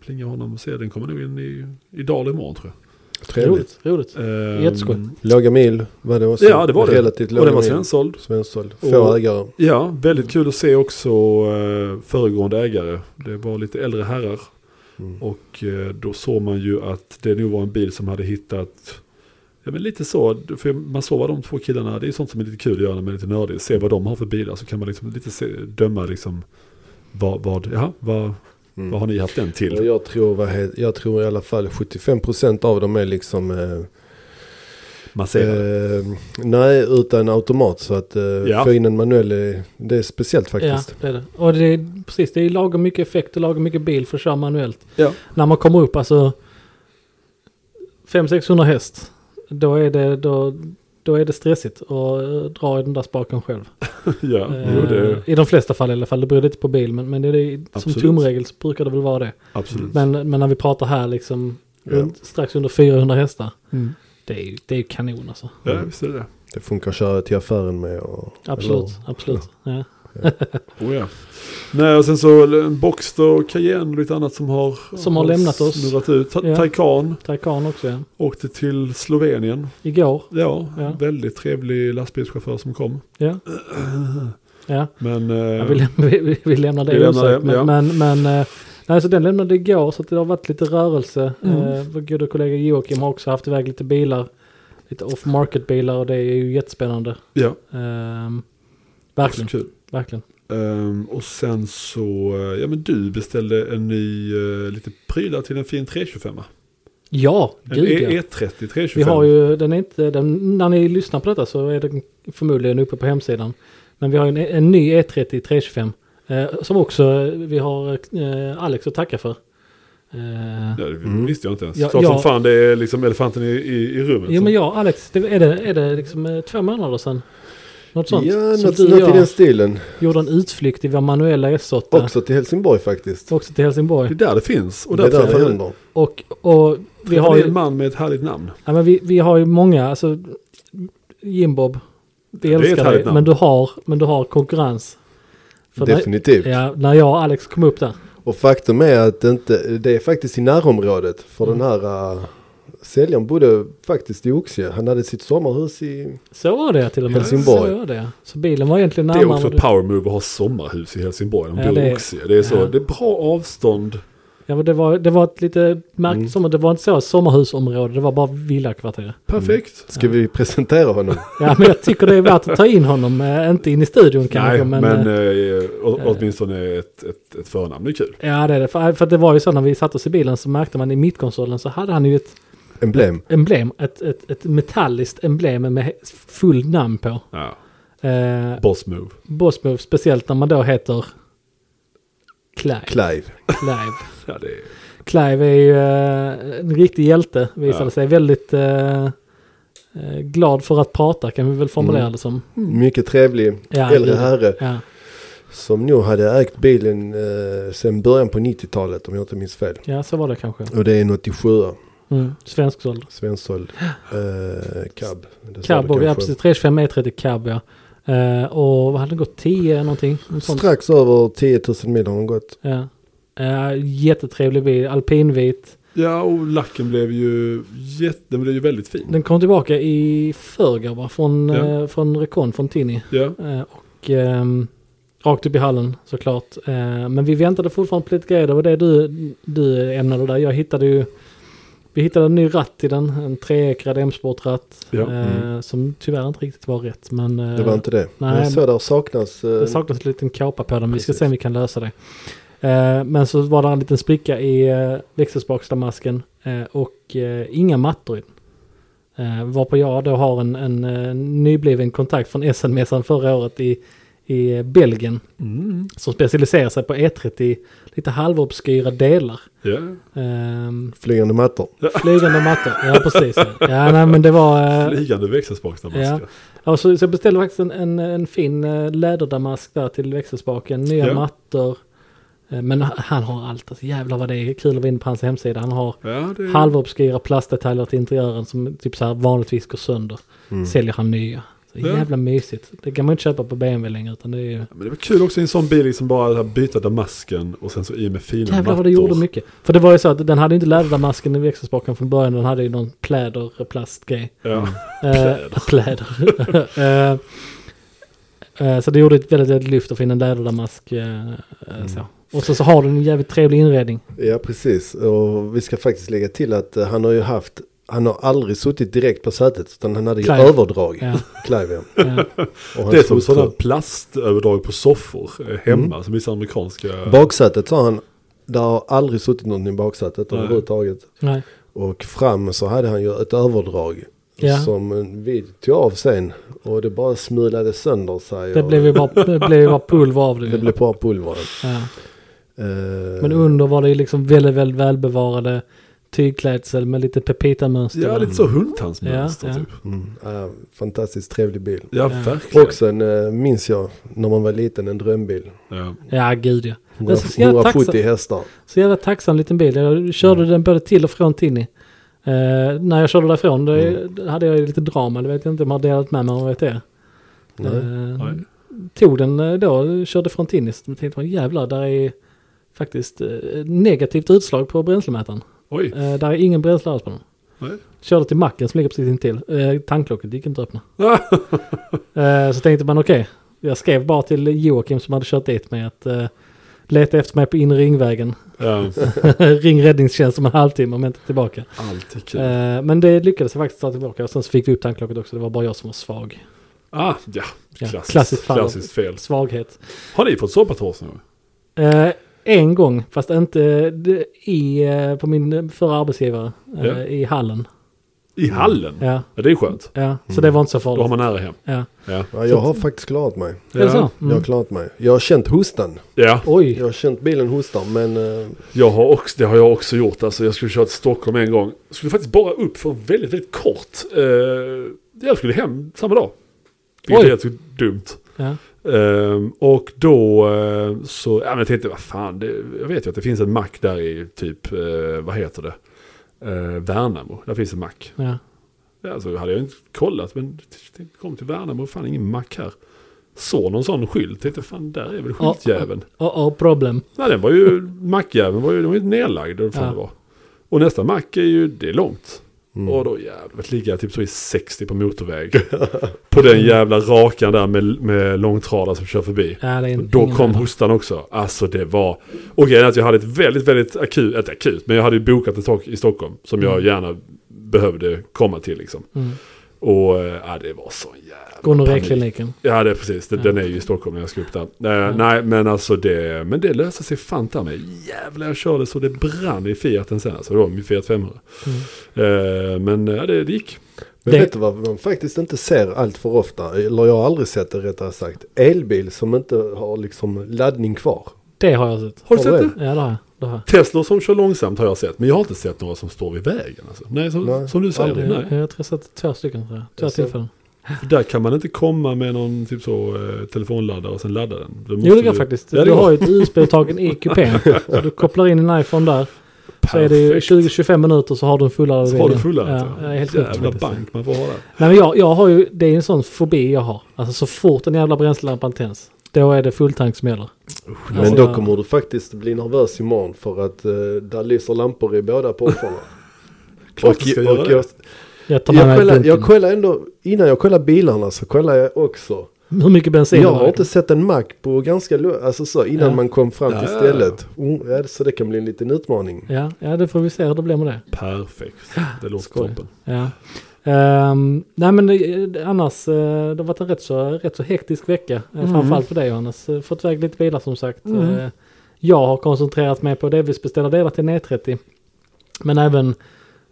Speaker 2: plinga honom och se, den kommer nog in i, i dag eller imorgon tror jag.
Speaker 3: Trevligt.
Speaker 1: Roligt, roligt.
Speaker 2: Ehm,
Speaker 1: Jätteskoj. Alltså,
Speaker 3: Låga mil var det också.
Speaker 2: Ja, det var det.
Speaker 3: Relativt
Speaker 2: Och
Speaker 3: låga
Speaker 2: den var
Speaker 3: mil.
Speaker 2: svensåld.
Speaker 3: Svensåld.
Speaker 2: Och-
Speaker 3: Få ägare.
Speaker 2: Ja, väldigt kul att se också eh, föregående ägare. Det var lite äldre herrar.
Speaker 3: Mm.
Speaker 2: Och eh, då såg man ju att det nog var en bil som hade hittat, ja men lite så, för man såg vad de två killarna, det är sånt som är lite kul att göra när man är lite nördig, se vad de har för bilar så kan man liksom lite se, döma liksom vad, vad, ja, vad,
Speaker 3: Mm.
Speaker 2: vad har ni haft den
Speaker 3: Och
Speaker 2: till?
Speaker 3: Jag tror, vad he- jag tror i alla fall 75% av dem är liksom... Eh,
Speaker 2: Man ser,
Speaker 3: eh, nej, utan automat. Så att eh,
Speaker 2: Ja.
Speaker 3: få in en manuell, är- det är speciellt faktiskt.
Speaker 1: Ja, det är det. Och det är, precis, det är lagom mycket effekt och lagom mycket bil för att köra manuellt.
Speaker 2: ja.
Speaker 1: När man kommer upp alltså 500-600 häst. Då är, det, då, då är det stressigt att eh, dra i den där spaken själv.
Speaker 2: ja,
Speaker 1: Eh,
Speaker 2: jo, det,
Speaker 1: I de flesta fall i alla fall. Det beror lite på bil. Men, men det är det, som
Speaker 2: Absolut.
Speaker 1: tumregel så brukar det väl vara det.
Speaker 2: absolut.
Speaker 1: Men, men när vi pratar här liksom
Speaker 3: Ja.
Speaker 1: runt, strax under 400 hästar.
Speaker 2: Mm.
Speaker 1: Det är ju det är ju kanon alltså.
Speaker 2: Ja, visst är det det.
Speaker 3: Det funkar att köra till affären med. Och,
Speaker 1: Absolut, absolut. Ja.
Speaker 2: Oh, ja. Nej, och sen så en Boxster och Cayenne och lite annat som har,
Speaker 1: Som har lämnat oss.
Speaker 2: snurrat ut. Ta-
Speaker 1: Ja.
Speaker 2: Taycan
Speaker 1: Taycan också ja.
Speaker 2: åkte till Slovenien.
Speaker 1: Igår.
Speaker 2: Ja,
Speaker 1: Ja.
Speaker 2: väldigt trevlig lastbilschaufför som kom.
Speaker 1: Ja. ja.
Speaker 2: Men eh,
Speaker 1: Ja, vi, läm- vi, vi- vi lämnar det
Speaker 2: Vi lämnar
Speaker 1: osagt.
Speaker 2: det,
Speaker 1: Men,
Speaker 2: ja.
Speaker 1: men, men eh, nej, så den lämnade igår så att det har varit lite rörelse.
Speaker 2: Mm.
Speaker 1: Eh, vår goda kollega Joakim har också haft iväg lite bilar. Lite off market bilar och det är ju jättespännande.
Speaker 2: ja,
Speaker 1: Ehm,
Speaker 2: också
Speaker 1: verkligen,
Speaker 2: kul.
Speaker 1: verkligen.
Speaker 2: Ehm, och sen så, eh, ja men du beställde en ny, eh, lite prylar till en fin 325.
Speaker 1: Ja,
Speaker 2: En
Speaker 1: gud
Speaker 2: e-
Speaker 1: ja.
Speaker 2: E30
Speaker 1: Vi
Speaker 2: 325.
Speaker 1: har ju, den är inte, den, när ni lyssnar på detta så är den förmodligen uppe på hemsidan. Men vi har ju en, en ny E E30 325. Eh, som också eh, vi har eh, Alex att tacka för. Eh,
Speaker 2: Ja, det
Speaker 3: Mm.
Speaker 2: visste jag inte ens.
Speaker 1: Ja,
Speaker 2: Klart
Speaker 1: ja.
Speaker 2: som fan det är liksom elefanten i, i, i rummet.
Speaker 1: Jo
Speaker 2: Så-
Speaker 1: men jag och Alex, det, är det, är det liksom eh, två månader sedan? Något sånt?
Speaker 3: Ja,
Speaker 1: som
Speaker 3: något,
Speaker 1: du och
Speaker 3: något i
Speaker 1: jag
Speaker 3: den stilen.
Speaker 1: gjorde en utflykt i vår manuella S8.
Speaker 3: Också till Helsingborg faktiskt.
Speaker 1: Också till
Speaker 2: Det är
Speaker 1: Helsingborg.
Speaker 2: där det finns. Och
Speaker 3: det är
Speaker 2: där
Speaker 3: därför jag
Speaker 2: det
Speaker 3: undrar.
Speaker 1: Och, och vi, har
Speaker 2: är en
Speaker 1: ju,
Speaker 2: man med ett härligt namn.
Speaker 1: ja, men vi, vi har ju många, alltså Jim Bob, vi
Speaker 2: det är ett
Speaker 1: älskar
Speaker 2: härligt
Speaker 1: dig,
Speaker 2: namn.
Speaker 1: men du, har, men du har konkurrens. För när,
Speaker 3: Definitivt.
Speaker 1: ja, när jag och Alex kom upp där.
Speaker 3: Och faktum är att det, inte, det är faktiskt i närområdet. För
Speaker 1: Mm.
Speaker 3: den här äh, säljaren bodde faktiskt i Oxie. Han hade sitt sommarhus i...
Speaker 1: Så var det till och med.
Speaker 3: Helsingborg.
Speaker 1: Så var det. Så bilen var egentligen
Speaker 2: Det är
Speaker 1: närmare.
Speaker 2: också
Speaker 1: vad du-
Speaker 2: ett power move att ha sommarhus i Helsingborg. De
Speaker 1: Ja,
Speaker 2: bor
Speaker 1: det är-
Speaker 2: i Oxie. Det är så.
Speaker 1: ja.
Speaker 2: Det är bra avstånd.
Speaker 1: ja, men det, var, det var ett lite märkligt
Speaker 3: Mm.
Speaker 1: sommar. Det var inte så sommarhusområde, det var bara villakvarter.
Speaker 2: Perfekt.
Speaker 1: Mm.
Speaker 3: Ska vi presentera honom?
Speaker 1: Ja, men jag tycker det är värt att ta in honom. Eh, inte in i studion kanske,
Speaker 2: Nej,
Speaker 1: men...
Speaker 2: men,
Speaker 1: eh,
Speaker 2: eh, å- åtminstone ett, ett, ett förnamn är kul.
Speaker 1: Ja, det är det. För, för att det var ju så när vi satte oss i bilen så märkte man i mittkonsolen så hade han ju ett
Speaker 3: Emblem.
Speaker 1: emblem, ett, ett, ett metalliskt emblem med he- full namn på.
Speaker 2: Ja.
Speaker 1: Eh,
Speaker 2: Boss move.
Speaker 1: Bossmove, speciellt när man då heter Clive.
Speaker 3: Clive.
Speaker 1: Clive.
Speaker 2: Ja, det är,
Speaker 1: Clive är ju eh, en riktig hjälte visade
Speaker 2: Ja.
Speaker 1: sig. Väldigt eh, eh, glad för att prata kan vi väl formulera
Speaker 3: Mm.
Speaker 1: det som.
Speaker 3: Mycket trevlig
Speaker 1: Ja,
Speaker 3: äldre
Speaker 1: det-
Speaker 3: herre.
Speaker 1: Ja.
Speaker 3: Som nog hade ägt bilen eh, sedan början på 90-talet om jag inte minns fel.
Speaker 1: ja, så var det kanske.
Speaker 3: Och det är en 87
Speaker 1: Mm. Svensk ålder.
Speaker 3: Svensson. Eh, cab. Det sa
Speaker 1: Cab,
Speaker 3: du
Speaker 1: ja
Speaker 3: kanske.
Speaker 1: precis. 325 E30 cab ja. Eh, och vad hade den gått? 10 någonting? Något sånt.
Speaker 3: Strax över 10 000 mil har de gått.
Speaker 1: Ja. Eh, jättetrevlig bil, alpinvit.
Speaker 2: ja, och lacken blev ju, jätte, den blev ju väldigt fin.
Speaker 1: Den kom tillbaka i förrgår va? Från,
Speaker 2: Ja.
Speaker 1: eh, från Recon, från Tini.
Speaker 2: Ja.
Speaker 1: Eh, och ehm, rakt upp i hallen såklart. Eh, men vi väntade fortfarande på lite grejer. Det var det du, du ämnade där. Jag hittade ju... Vi hittade en ny ratt till den. En treekrad M-sportratt.
Speaker 2: Ja.
Speaker 1: eh,
Speaker 3: Mm.
Speaker 1: Som tyvärr inte riktigt var rätt. Men, eh,
Speaker 3: Det var inte det.
Speaker 1: nej,
Speaker 3: jag såg där saknas... Eh,
Speaker 1: Det saknas en liten kåpa på den. Vi ska
Speaker 3: Precis.
Speaker 1: se om vi kan lösa det. Eh, men så var det en liten spricka i eh, växelspaksdamasken eh, och eh, inga mattor i den. Eh, varpå jag då har en, en eh, nybliven kontakt från SN-mässan förra året i, i eh, Belgien
Speaker 2: Mm.
Speaker 1: som specialiserar sig på E30, lite halvobskyra delar.
Speaker 2: ja.
Speaker 1: Ehm,
Speaker 3: flygande mattor.
Speaker 1: flygande mattor, ja precis. Ja, ja nej, men det var... eh,
Speaker 2: Flygande växelspaksdamask.
Speaker 1: Ja. Ja, så, så jag beställde faktiskt en, en, en fin eh, läderdamask där till växelspaken. Nya
Speaker 2: Ja.
Speaker 1: mattor. Eh, Men han- han har allt. Alltså, jävlar vad det är kul att vara inne på hans hemsida. Han har
Speaker 2: Ja. ja, det
Speaker 1: halvobskyra plastdetaljer till interiören som typ så här vanligtvis går sönder.
Speaker 3: Mm.
Speaker 1: Säljer han nya. Så
Speaker 2: Ja.
Speaker 1: jävla mysigt. Det kan man inte köpa på BMW längre utan det är ju...
Speaker 2: Ja, Men det var kul också i en sån bil, liksom bara det här byta damasken och sen så i med fina
Speaker 1: Jävlar vad
Speaker 2: mattor.
Speaker 1: det gjorde mycket. För det var ju så att den hade ju inte läderdamasken i växelspaken från början. Den hade ju någon pläder plastgrej.
Speaker 2: Ja.
Speaker 1: Pläder. pläder. Eh, eh, så det gjorde ett väldigt, väldigt lyft att finna en läderdamask. eh, eh, så. Och så, så har den en jävligt trevlig inredning.
Speaker 3: Ja, precis. Och vi ska faktiskt lägga till att eh, han har ju haft, han har aldrig suttit direkt på sätet utan han hade ju
Speaker 1: Clive.
Speaker 3: överdrag.
Speaker 1: Ja,
Speaker 3: Clive, ja.
Speaker 1: ja.
Speaker 3: Och hans
Speaker 2: Det är som
Speaker 3: hustru.
Speaker 2: sådana plastöverdrag på soffor eh, hemma,
Speaker 1: Mm.
Speaker 2: som vissa amerikanska...
Speaker 3: Baksätet sa han, där har aldrig suttit någon i baksätet
Speaker 2: Nej.
Speaker 3: överhuvudtaget.
Speaker 1: Nej.
Speaker 3: Och fram så hade han ju ett överdrag.
Speaker 1: Ja.
Speaker 3: Som vi tog av sen. Och det bara smulade sönder sig.
Speaker 1: Det
Speaker 3: och
Speaker 1: blev ju bara, det blev ju bara pulver av det.
Speaker 3: det blev bara pulver.
Speaker 1: Ja.
Speaker 3: Eh,
Speaker 1: Men under var det ju liksom väldigt, väldigt välbevarade tygklädsel med lite pepitamönster.
Speaker 2: Ja, lite så hundtandsmönster
Speaker 1: Ja, ja.
Speaker 2: typ.
Speaker 3: mm, ja, fantastiskt trevlig bil.
Speaker 2: Ja,
Speaker 1: Ja.
Speaker 2: verkligen.
Speaker 3: Också en, eh, minns jag, när man var liten, en drömbil.
Speaker 2: Ja.
Speaker 1: ja gud ja. Det är så jävla
Speaker 3: 170
Speaker 1: tacksam-
Speaker 3: hästar.
Speaker 1: Så jävla tacksam liten bil. Jag körde den både till och från Tinny. Eh, när jag körde därifrån det, det hade jag ju lite drama. Det vet jag inte om jag har delat med mig av. Vet jag.
Speaker 3: Nej.
Speaker 1: Eh,
Speaker 2: Nej.
Speaker 1: tog den eh, då, körde från Tinny. Så tänkte man jävlar, där är faktiskt eh, negativt utslag på bränslemätaren.
Speaker 2: Oj.
Speaker 1: Eh, där är ingen bränsle alls på den.
Speaker 2: Nej.
Speaker 1: Körde till macken som ligger precis intill. Eh, tanklocket gick inte att öppna.
Speaker 2: Ah,
Speaker 1: Eh, så tänkte man okej, jag skrev bara till Joakim som hade kört dit mig att eh, leta efter mig på inre ringvägen.
Speaker 2: ja.
Speaker 1: Ring räddningstjänst om en halvtimme om jag inte är tillbaka.
Speaker 2: Allt är kul.
Speaker 1: Eh, men det lyckades jag faktiskt ta tillbaka och sen så fick vi upp tanklocket också. Det var bara jag som var svag.
Speaker 2: Ah, ja.
Speaker 1: Ja,
Speaker 2: Klassiskt,
Speaker 1: klassiskt fall.
Speaker 2: klassiskt fel.
Speaker 1: Svaghet.
Speaker 2: Har ni fått soppators någon gång?
Speaker 1: Eh, en gång, fast inte det- i, eh, på min förra arbetsgivare eh,
Speaker 2: Ja.
Speaker 1: i hallen.
Speaker 2: I hallen? Ja.
Speaker 1: Mm. Ja,
Speaker 2: det är skönt.
Speaker 1: ja. Så det var inte så
Speaker 2: Mm. Då har
Speaker 1: farligt.
Speaker 2: man nära hem.
Speaker 1: Ja.
Speaker 2: Ja.
Speaker 3: Ja, jag har faktiskt klarat mig.
Speaker 1: Är det så?
Speaker 3: Jag
Speaker 1: Mm.
Speaker 3: har klarat mig. Jag har känt hostan.
Speaker 2: Ja,
Speaker 1: Oj,
Speaker 3: Jag har känt bilen hosta men eh,
Speaker 2: jag har också, det har jag också gjort. Alltså, jag skulle köra till Stockholm en gång. Skulle faktiskt bara upp för väldigt, väldigt kort. Eh, jag skulle hem samma dag. Vilket
Speaker 1: Oj.
Speaker 2: är rätt så dumt.
Speaker 1: ja.
Speaker 2: Ehm, och då eh, så, ja men jag tänkte vad fan, det, jag vet ju att det finns en mack där i typ, eh, vad heter det, eh, Värnamo, där finns en mack.
Speaker 1: Ja.
Speaker 2: Ja, Alltså hade jag inte kollat, men t- kom till Värnamo, fan ingen mack här. Såg någon sån skylt, tänkte fan där är väl
Speaker 1: Ja.
Speaker 2: skyltjäveln.
Speaker 1: Oh, oh, problem.
Speaker 2: Nej den var ju, mackjäveln var ju, den var ju inte nedlagd, eller vad fan
Speaker 1: Ja.
Speaker 2: det var. Och nästa mack är ju, det är långt.
Speaker 3: Mm.
Speaker 2: Och då jävlar, ligger jag typ så i 60 på motorväg. på den jävla rakan där med, med långtradare som kör förbi.
Speaker 1: Ja, det är
Speaker 2: Och
Speaker 1: en,
Speaker 2: Då
Speaker 1: ingen
Speaker 2: kom
Speaker 1: höjdare.
Speaker 2: hostan också. Alltså det var... Och grejen är att jag hade ett väldigt, väldigt akut, inte akut, men jag hade ju bokat ett tak i Stockholm som jag
Speaker 1: Mm.
Speaker 2: gärna behövde komma till liksom.
Speaker 1: Mm.
Speaker 2: Och eh, ja, det var så jävla panik.
Speaker 1: Gonorrékliniken.
Speaker 2: Ja, det är precis. Det,
Speaker 1: Ja.
Speaker 2: Den är ju i Stockholm när jag ska upp där. Eh, Nej, men alltså det, men det löste sig fan ta mig. Jävlar, jag körde så det brann i Fiaten sen. Alltså det var min Fiat 500.
Speaker 1: Mm.
Speaker 2: Eh, men ja, det, det gick.
Speaker 3: Men
Speaker 1: Det-
Speaker 3: vet du vad man faktiskt inte ser allt för ofta? Eller jag har aldrig sett det rättare sagt. Elbil som inte har liksom laddning kvar.
Speaker 1: Det har jag sett.
Speaker 2: Har du
Speaker 3: Har du
Speaker 2: sett det?
Speaker 1: Ja, det har jag. Det har jag.
Speaker 2: Teslor som kör långsamt har jag sett, men jag har inte sett några som står vid vägen. Alltså. Nej, som,
Speaker 3: Nej,
Speaker 2: som du säger.
Speaker 3: aldrig.
Speaker 2: Nej.
Speaker 1: Jag, jag tror jag sett två stycken tror jag. Två
Speaker 3: Jag ser.
Speaker 1: tillfällen.
Speaker 2: Där kan man inte komma med någon typ så eh, telefonladdare och sen ladda den. Då måste
Speaker 1: Jo det går
Speaker 2: du-
Speaker 1: faktiskt.
Speaker 2: Mm. Ja, det
Speaker 1: du
Speaker 2: går.
Speaker 1: har ju ett USB-uttagen i kupén. Så du kopplar in en iPhone där. Så är det ju
Speaker 2: Perfekt.
Speaker 1: 20-25 minuter så har du en fullare
Speaker 2: Så
Speaker 1: video.
Speaker 2: har du fulladdat.
Speaker 1: Ja, det är helt sjukt
Speaker 2: Jävla
Speaker 1: faktiskt.
Speaker 2: bank man får ha där.
Speaker 1: Nej men jag, jag har ju, det är en sån fobi jag har. Alltså så fort den jävla bränslelampan tänds. Då är det fulltank som gäller.
Speaker 3: Men
Speaker 1: Alltså,
Speaker 3: då
Speaker 1: jag-
Speaker 3: kommer du faktiskt bli nervös imorgon för att eh, där lyser lampor i båda portarna.
Speaker 2: Klart du ska göra det.
Speaker 3: jag,
Speaker 1: Jag tar med
Speaker 3: jag,
Speaker 1: mig
Speaker 3: kollar,
Speaker 1: bunken.
Speaker 3: jag kollar ändå, innan jag kollar bilarna så kollar jag också.
Speaker 1: Hur mycket bensin
Speaker 3: jag
Speaker 1: det
Speaker 3: har
Speaker 1: var.
Speaker 3: inte sett en Mac på ganska lång, alltså så innan
Speaker 1: Ja.
Speaker 3: man kom fram till
Speaker 2: Ja.
Speaker 3: stället. Mm, ja, så det kan bli en liten utmaning.
Speaker 1: Ja, ja det får vi se hur det blir med det.
Speaker 2: Perfekt. Det låter
Speaker 1: Skoj.
Speaker 2: toppen.
Speaker 1: Ja. Ehm, nej men eh, annars, eh, det har varit en rätt så, rätt så hektisk vecka. eh,
Speaker 3: Mm.
Speaker 1: Framförallt för dig Johannes. Eh, Fått iväg lite bilar som sagt. Eh, jag har koncentrerat mig på att delvis beställa delar till N30. Men även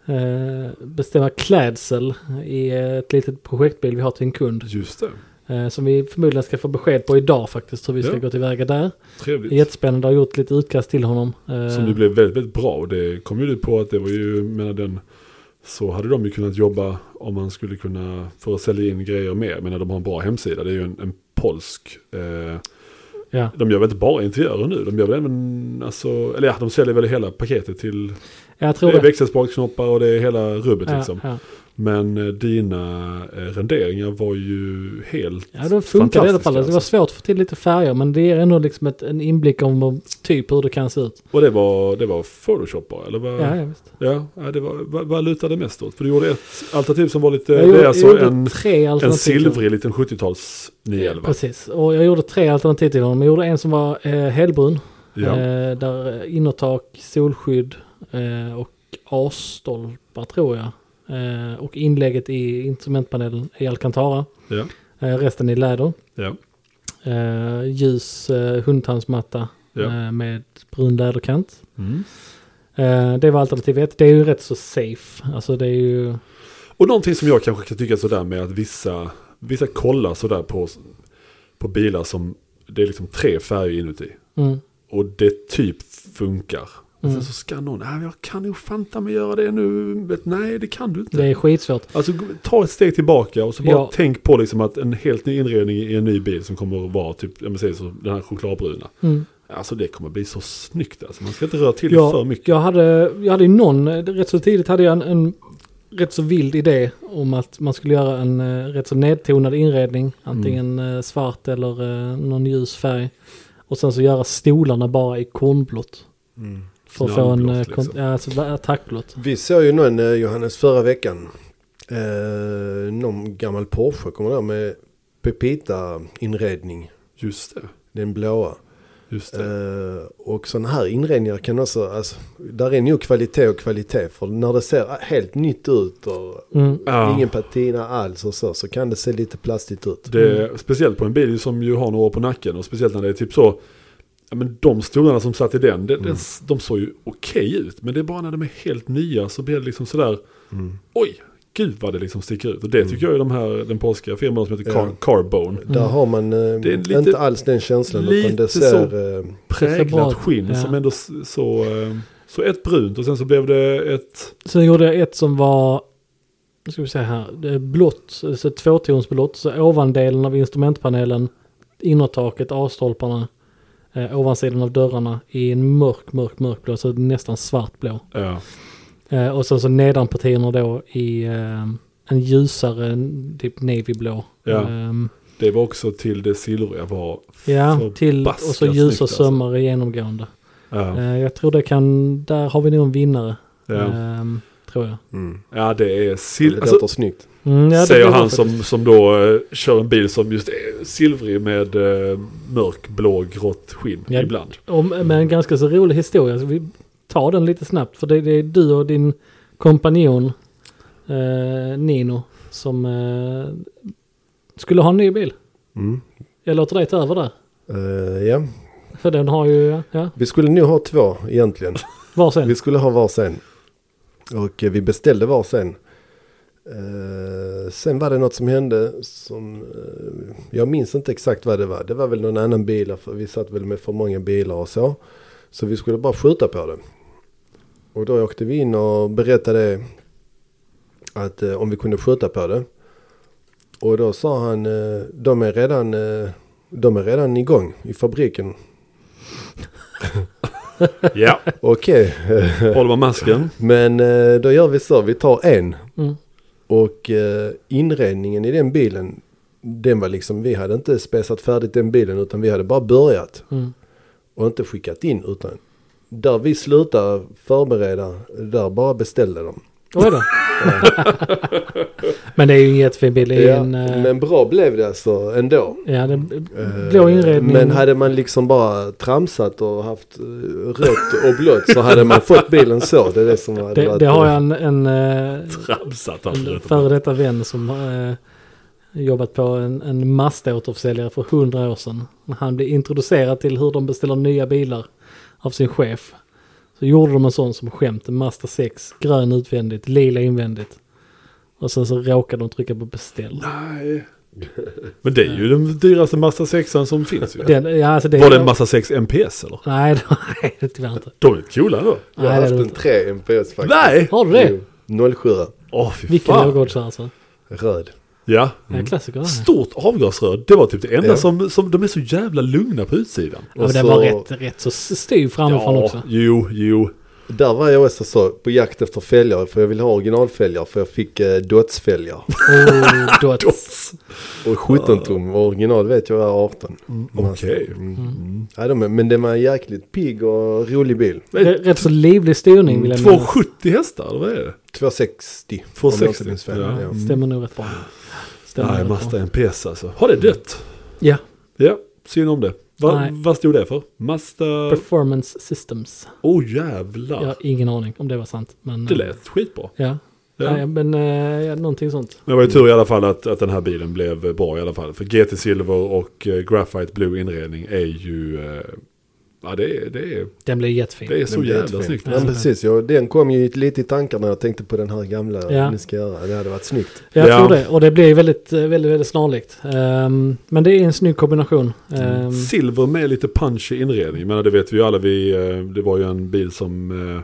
Speaker 1: eh, beställa klädsel i ett litet projektbil vi har till en kund.
Speaker 2: Just det.
Speaker 1: Eh, som vi förmodligen ska få besked på idag faktiskt hur vi ska
Speaker 2: Ja.
Speaker 1: gå tillväga där.
Speaker 2: Trevligt.
Speaker 1: Jättespännande, har gjort lite utkast till honom. Eh,
Speaker 2: Som det blev väldigt, väldigt bra. Och det kom ju du på att det var ju, menar den, så hade de ju kunnat jobba om man skulle kunna, för att sälja in grejer mer. Men de har en bra hemsida, det är ju en, en polsk eh,
Speaker 1: ja.
Speaker 2: De gör väl inte bara interiörer nu, de gör väl även, alltså, eller ja, de säljer väl hela paketet till
Speaker 1: Jag tror
Speaker 2: Det är
Speaker 1: det.
Speaker 2: växelspraknoppar och det är hela rubbet
Speaker 1: Ja,
Speaker 2: liksom.
Speaker 1: ja.
Speaker 2: Men eh, dina eh, renderingar var ju helt
Speaker 1: ja, då funkar det i alla fall. Det
Speaker 2: fantastiska,
Speaker 1: var
Speaker 2: alltså.
Speaker 1: svårt att få till lite färger men det ger ändå liksom ett, en inblick om om typ hur det kan se ut.
Speaker 2: Och det var, det var Photoshop bara, eller? Vad,
Speaker 1: Ja,
Speaker 2: ja.
Speaker 1: ja, visst.
Speaker 2: Ja, det var, vad, vad lutade mest åt? För du gjorde ett alternativ som var lite,
Speaker 1: Jag
Speaker 2: det
Speaker 1: gjorde-
Speaker 2: är
Speaker 1: jag
Speaker 2: alltså
Speaker 1: gjorde
Speaker 2: en,
Speaker 1: tre
Speaker 2: en
Speaker 1: alternativ.
Speaker 2: silvrig liten 70-tals 911.
Speaker 1: Precis, och jag gjorde tre alternativ till honom. Jag gjorde en som var eh, helbrun,
Speaker 2: Ja.
Speaker 1: eh, där innertak, solskydd eh, och A-stolpar tror jag. Eh, och inlägget i instrumentpanelen i Alcantara.
Speaker 2: Ja.
Speaker 1: Eh, resten i läder.
Speaker 2: Ja.
Speaker 1: Eh, ljus eh, hundtandsmatta
Speaker 2: Ja.
Speaker 1: eh, med brun läderkant.
Speaker 2: Mm.
Speaker 1: Eh, det var alternativ ett. Det är ju rätt så safe. Alltså det är ju...
Speaker 2: Och någonting som jag kanske kan tycka sådär med att vissa, vissa kollar sådär på, på bilar som det är liksom tre färger inuti.
Speaker 1: Mm,
Speaker 2: Och det typ funkar. Men
Speaker 1: Mm.
Speaker 2: Sen så ska någon, nej jag kan nog fanta mig göra det nu. Vet, nej det kan du inte.
Speaker 1: det är skitsvårt.
Speaker 2: Alltså gå- ta ett steg tillbaka och så bara
Speaker 1: Ja.
Speaker 2: tänk på liksom att en helt ny inredning i en ny bil som kommer att vara typ, om man säger så, den här chokladbruna.
Speaker 1: Mm.
Speaker 2: Alltså det kommer bli så snyggt alltså. Man ska inte röra till
Speaker 1: Ja,
Speaker 2: för mycket.
Speaker 1: Jag hade, jag hade ju någon, eh, rätt så tidigt hade jag en, en rätt så vild idé om att man skulle göra en eh, rätt så nedtonad inredning. Antingen
Speaker 2: Mm.
Speaker 1: eh, svart eller eh, någon ljus färg. Och sen så göra stolarna bara i kornblått. För att få en...
Speaker 2: Knallblått,
Speaker 1: eh,
Speaker 2: Mm. liksom.
Speaker 1: kon- ja, alltså attackblått.
Speaker 3: Vi såg ju någon, eh, Johannes, förra veckan. Eh, någon gammal Porsche, kommer du ihåg, med Pepita-inredning.
Speaker 2: Just det.
Speaker 3: Den blåa.
Speaker 2: Just det.
Speaker 3: Eh, och sådana här inredningar kan också, alltså, där är nog kvalitet och kvalitet. För när det ser helt nytt ut och
Speaker 1: Mm.
Speaker 2: Ja.
Speaker 3: ingen patina alls och så, så kan det se lite plastigt ut.
Speaker 2: Det, Speciellt på en bil som ju har några år på nacken och speciellt när det är typ så. Ja, men de stolarna som satt i den, det,
Speaker 1: Mm.
Speaker 2: den de såg ju okej ut. Men det är bara när de är helt nya så blir det liksom sådär.
Speaker 3: Mm.
Speaker 2: Oj, gud vad det liksom sticker ut. Och
Speaker 1: Mm.
Speaker 2: det tycker jag är de här, den polska firman som heter Car,
Speaker 3: Ja.
Speaker 2: Carbone.
Speaker 3: Där har man eh,
Speaker 2: Mm. Det är lite-
Speaker 3: inte alls den känslan utan
Speaker 2: lite
Speaker 3: det ser... eh,
Speaker 1: bra ut.
Speaker 2: Präglat skinn
Speaker 1: Ja.
Speaker 2: som ändå s- så, eh, så ett brunt och sen så blev det ett.
Speaker 1: Sen gjorde jag ett som var, nu ska vi se här, det är blått, alltså ett tvåtonsblått. Så ovandelen av instrumentpanelen, innertaket, A-stolparna, eh, ovansidan av dörrarna i en mörk, mörk, mörkblå, så nästan svartblå.
Speaker 2: Ja,
Speaker 1: Eh, och sen så nedanpartierna då i eh, en ljusare, typ navyblå.
Speaker 2: Ja.
Speaker 1: Ehm,
Speaker 2: det var också till det silvriga var.
Speaker 1: ja
Speaker 2: Förbaskat
Speaker 1: till, och så
Speaker 2: snyggt,
Speaker 1: ljusa
Speaker 2: alltså.
Speaker 1: sömmar genomgående.
Speaker 2: Ja,
Speaker 1: Eh, jag tror det kan, där har vi nog en vinnare.
Speaker 2: ja.
Speaker 1: Ehm, tror jag.
Speaker 3: Mm.
Speaker 2: ja det är
Speaker 3: Det
Speaker 2: silver.
Speaker 3: låter snyggt.
Speaker 1: Mm, ja, det
Speaker 2: säger
Speaker 1: blir det
Speaker 2: han
Speaker 1: faktiskt.
Speaker 2: som, som då eh, kör en bil som just är silvrig med eh, mörkblå grått skinn
Speaker 1: Ja.
Speaker 2: ibland.
Speaker 1: Om, med en ganska så rolig historia. Så vi tar den lite snabbt. För det, det är du och din kompanjon eh, Nino som eh, skulle ha en ny bil.
Speaker 3: Mm.
Speaker 1: Jag låter dig ta över där.
Speaker 3: Eh, ja,
Speaker 1: För den har ju ja,
Speaker 3: vi skulle nog ha två egentligen.
Speaker 1: varsin.
Speaker 3: Vi skulle ha varsin. Och eh, vi beställde varsin. Eh, sen var det något som hände som eh, jag minns inte exakt vad det var. Det var väl någon annan bil. För vi satt väl med för många bilar och så. Så vi skulle bara skjuta på det. Och då åkte vi in och berättade att eh, om vi kunde skjuta på det. Och då sa han eh, de är redan, eh, de är redan igång i fabriken.
Speaker 2: Ja,
Speaker 3: Okej.
Speaker 2: håller man masken.
Speaker 3: Men eh, då gör vi så, vi tar en.
Speaker 1: Mm.
Speaker 3: Och eh, inredningen i den bilen, den var liksom, vi hade inte spesat färdigt den bilen utan vi hade bara börjat.
Speaker 1: Mm.
Speaker 3: Och inte skickat in utan där vi slutade förbereda, där bara beställde de.
Speaker 1: Oj då. Men det är ju en jättefin bil. Det är
Speaker 3: Ja,
Speaker 1: en, eh,
Speaker 3: men bra blev det alltså ändå.
Speaker 1: ja, det,
Speaker 3: Eh,
Speaker 1: blå inredning.
Speaker 3: Men hade man liksom bara tramsat och haft eh, rött och blått så hade man fått bilen så. Det är det som hade
Speaker 1: det,
Speaker 3: varit,
Speaker 1: det har
Speaker 3: eh,
Speaker 1: jag en, en, eh,
Speaker 2: Tramsat
Speaker 1: En
Speaker 2: alltså.
Speaker 1: före detta vän som har eh, jobbat på en, en Mazda-återförsäljare för hundra år sedan. När han blev introducerad till hur de beställer nya bilar av sin chef. Så gjorde de en sån som skämt, en Mazda 6, grön utvändigt, lila invändigt. Och sen så råkade de trycka på beställ.
Speaker 2: Nej. Men det är ju den dyraste Mazda 6 som finns ju.
Speaker 1: Den, ja, alltså det,
Speaker 2: Var det en Mazda 6 MPS eller?
Speaker 1: Nej, det- nej, det tyvärr inte.
Speaker 2: De är coola då.
Speaker 3: jag har
Speaker 1: nej, det
Speaker 3: haft
Speaker 1: är det
Speaker 3: en
Speaker 1: inte.
Speaker 3: 3 MPS faktiskt.
Speaker 2: Nej!
Speaker 1: Har du det?
Speaker 3: Jo, 07
Speaker 2: Åh fy
Speaker 1: Vilken
Speaker 2: fan. Mm.
Speaker 1: lågoddsare alltså.
Speaker 3: röd.
Speaker 2: Ja.
Speaker 1: Ja, klassiker. det här.
Speaker 2: Stort avgasrör. Det var typ det enda
Speaker 3: Ja.
Speaker 2: som, som, de är så jävla lugna på utsidan.
Speaker 1: Ja, men
Speaker 3: och
Speaker 1: den var
Speaker 3: så-
Speaker 1: rätt, rätt så styv framifrån också.
Speaker 2: jo, jo.
Speaker 3: Där var jag också så på jakt efter fälgar för jag ville ha originalfälgar för jag fick eh, dotsfälgar.
Speaker 1: Oh, dots.
Speaker 3: Och 17 tum och original vet jag var 18.
Speaker 2: Okej.
Speaker 3: Mm. Ja, de, är- men det var en jäkligt pigg och rolig bil.
Speaker 1: Rätt rätt så livlig
Speaker 2: Mm.
Speaker 1: styrning vill jag minnas.
Speaker 2: 270 hästar, eller vad är det?
Speaker 3: 260.
Speaker 2: 260,
Speaker 3: Om jag inte minns fel.
Speaker 2: ja.
Speaker 3: Ja.
Speaker 1: Stämmer nog rätt bra. Stämmer
Speaker 2: Nej,
Speaker 1: nog rätt
Speaker 2: Mazda MPS alltså. Har det dött?
Speaker 1: Ja,
Speaker 2: Ja, synd om det. Va,
Speaker 1: Nej.
Speaker 2: vad stod det för? Mazda...
Speaker 1: Performance Systems.
Speaker 2: Åh
Speaker 1: Jag
Speaker 2: jävlar.
Speaker 1: har ingen aning om det var sant. Men,
Speaker 2: Det
Speaker 1: eh,
Speaker 2: lät skitbra.
Speaker 1: Ja.
Speaker 2: Ja.
Speaker 1: Nej, men eh, ja, någonting sånt.
Speaker 2: Men det var ju tur i alla fall att, att den här bilen blev bra i alla fall. För GT Silver och eh, Graphite Blue inredning är ju... eh, Ja, det är, det är,
Speaker 1: Den blev jättefin.
Speaker 2: det är så
Speaker 3: Den blev
Speaker 2: jävla
Speaker 3: jättefin.
Speaker 2: snyggt. alltså.
Speaker 3: Ja, precis. Jag, den kom ju lite i tankarna när jag tänkte på den här gamla
Speaker 1: Ja.
Speaker 3: ni ska göra. Det hade varit snyggt.
Speaker 1: Jag
Speaker 2: Ja.
Speaker 1: tror det. Och det blir väldigt, eh, väldigt, väldigt snarlikt. Ehm, men det är en snygg kombination. Ehm,
Speaker 2: Mm. Silver med lite punch i inredning. Men det vet vi ju alla. Vi, eh, det var ju en bil som... eh,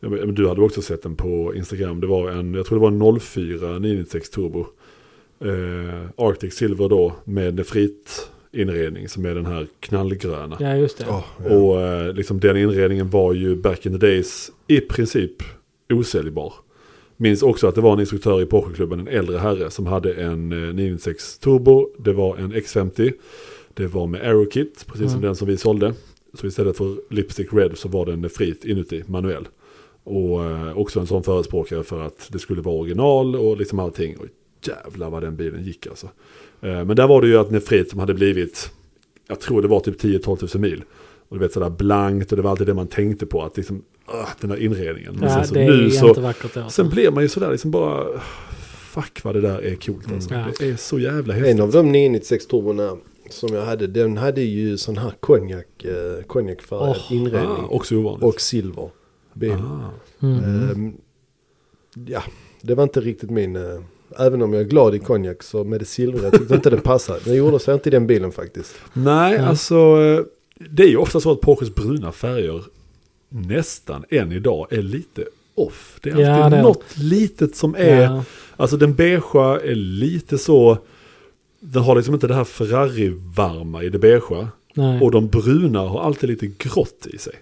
Speaker 2: ja, men Du hade också sett den på Instagram. Det var en, jag tror det var en 04 996 Turbo. Eh, Arctic Silver då med nefrit inredning som är den här knallgröna.
Speaker 1: ja, just det.
Speaker 3: Ja, ja.
Speaker 2: Och eh, liksom den inredningen var ju back in the days i princip osäljbar. Minns också att det var en instruktör i Porscheklubben, en äldre herre som hade en eh, 996 Turbo, det var en X50, det var med AeroKit, precis som
Speaker 1: Mm.
Speaker 2: den som vi sålde. Så istället för Lipstick Red så var den frit inuti, manuell. Och eh, också en sån förespråkare för att det skulle vara original och liksom allting. Och jävlar vad den bilen gick alltså. Eh, Men där var det ju att nefrit som hade blivit, jag tror det var typ 10-12 000 mil. Och du vet sådär blankt och det var alltid det man tänkte på. Att liksom, ah, den här inredningen. Men
Speaker 1: ja,
Speaker 2: sen så
Speaker 1: det är
Speaker 2: nu så,
Speaker 1: jättevackert. det, alltså.
Speaker 2: sen blir man ju sådär liksom bara, fuck vad det där är coolt alltså.
Speaker 1: Ja.
Speaker 2: Det är så jävla häftigt.
Speaker 3: Mm. En av de 996 turborna som jag hade, den hade ju sån här konjak, eh, konjakfärgad
Speaker 1: Åh.
Speaker 3: inredning.
Speaker 2: ah, också ovanligt.
Speaker 3: och silver. Bil.
Speaker 2: ah.
Speaker 1: Mm.
Speaker 3: Ehm, ja, det var inte riktigt min... eh, även om jag är glad i konjak så med det silvriga jag tyckte inte den passade. Den gjorde sig inte i den bilen faktiskt.
Speaker 2: Nej,
Speaker 1: Ja.
Speaker 2: alltså eh, det är ju ofta så att Porsches bruna färger nästan än idag är lite off. Det är alltid
Speaker 1: Ja, det är-
Speaker 2: något litet som är,
Speaker 1: Ja.
Speaker 2: alltså den beigea är lite så, den har liksom inte det här Ferrari-varma i det beigea.
Speaker 1: Nej.
Speaker 2: Och de bruna har alltid lite grått i sig.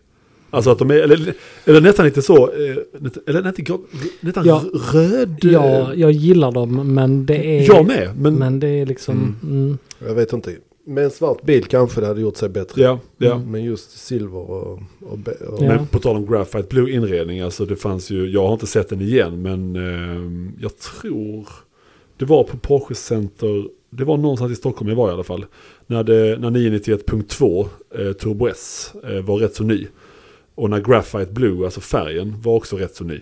Speaker 2: Alltså att de är, eller, eller nästan lite så, eh, nät- eller nästan grått, nästan
Speaker 1: Ja.
Speaker 2: röd.
Speaker 1: ja, jag gillar dem, men det är...
Speaker 2: jag med, men,
Speaker 1: Men det är liksom... Mm.
Speaker 3: Jag vet inte. Med en svart bil kanske det hade gjort sig bättre. Mm.
Speaker 2: ja, ja.
Speaker 3: Men just silver och... och, be- och
Speaker 1: Ja.
Speaker 2: Men på tal om Graphite Blue inredning, alltså det fanns ju, jag har inte sett den igen, men eh, jag tror det var på Porsche Center, det var någonstans i Stockholm jag var i alla fall, när, det, när 991.2 eh, Turbo S eh, var rätt så ny. Och när Graphite Blue, alltså färgen, var också rätt så ny.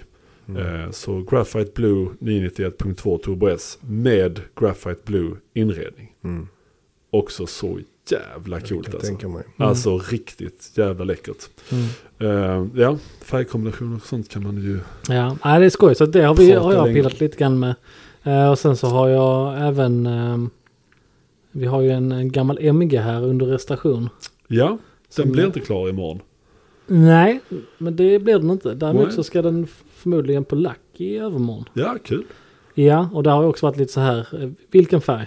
Speaker 3: mm,
Speaker 2: Eh, så Graphite Blue 991.2 Turbo S med Graphite Blue inredning.
Speaker 3: Mm.
Speaker 2: Också så jävla coolt
Speaker 3: kan
Speaker 2: alltså.
Speaker 3: tänka mig. Mm.
Speaker 2: Alltså riktigt jävla läckert.
Speaker 1: Mm.
Speaker 2: Eh, ja, färgkombinationer och sånt kan man ju...
Speaker 1: Ja, nej, det är skoj. Så det har, vi,
Speaker 2: Prata
Speaker 1: har jag
Speaker 2: länge.
Speaker 1: pillat lite grann med. Eh, och sen så har jag även... ehm, vi har ju en, en gammal MG här under restauration.
Speaker 2: Ja, den
Speaker 1: Som-
Speaker 2: blir inte klar imorgon.
Speaker 1: Nej, men det blir den inte. Däremot
Speaker 2: Nej.
Speaker 1: så ska den f- förmodligen på lack i övermorgon.
Speaker 2: Ja, kul.
Speaker 1: Ja, och där har jag också varit lite så här, eh, vilken färg?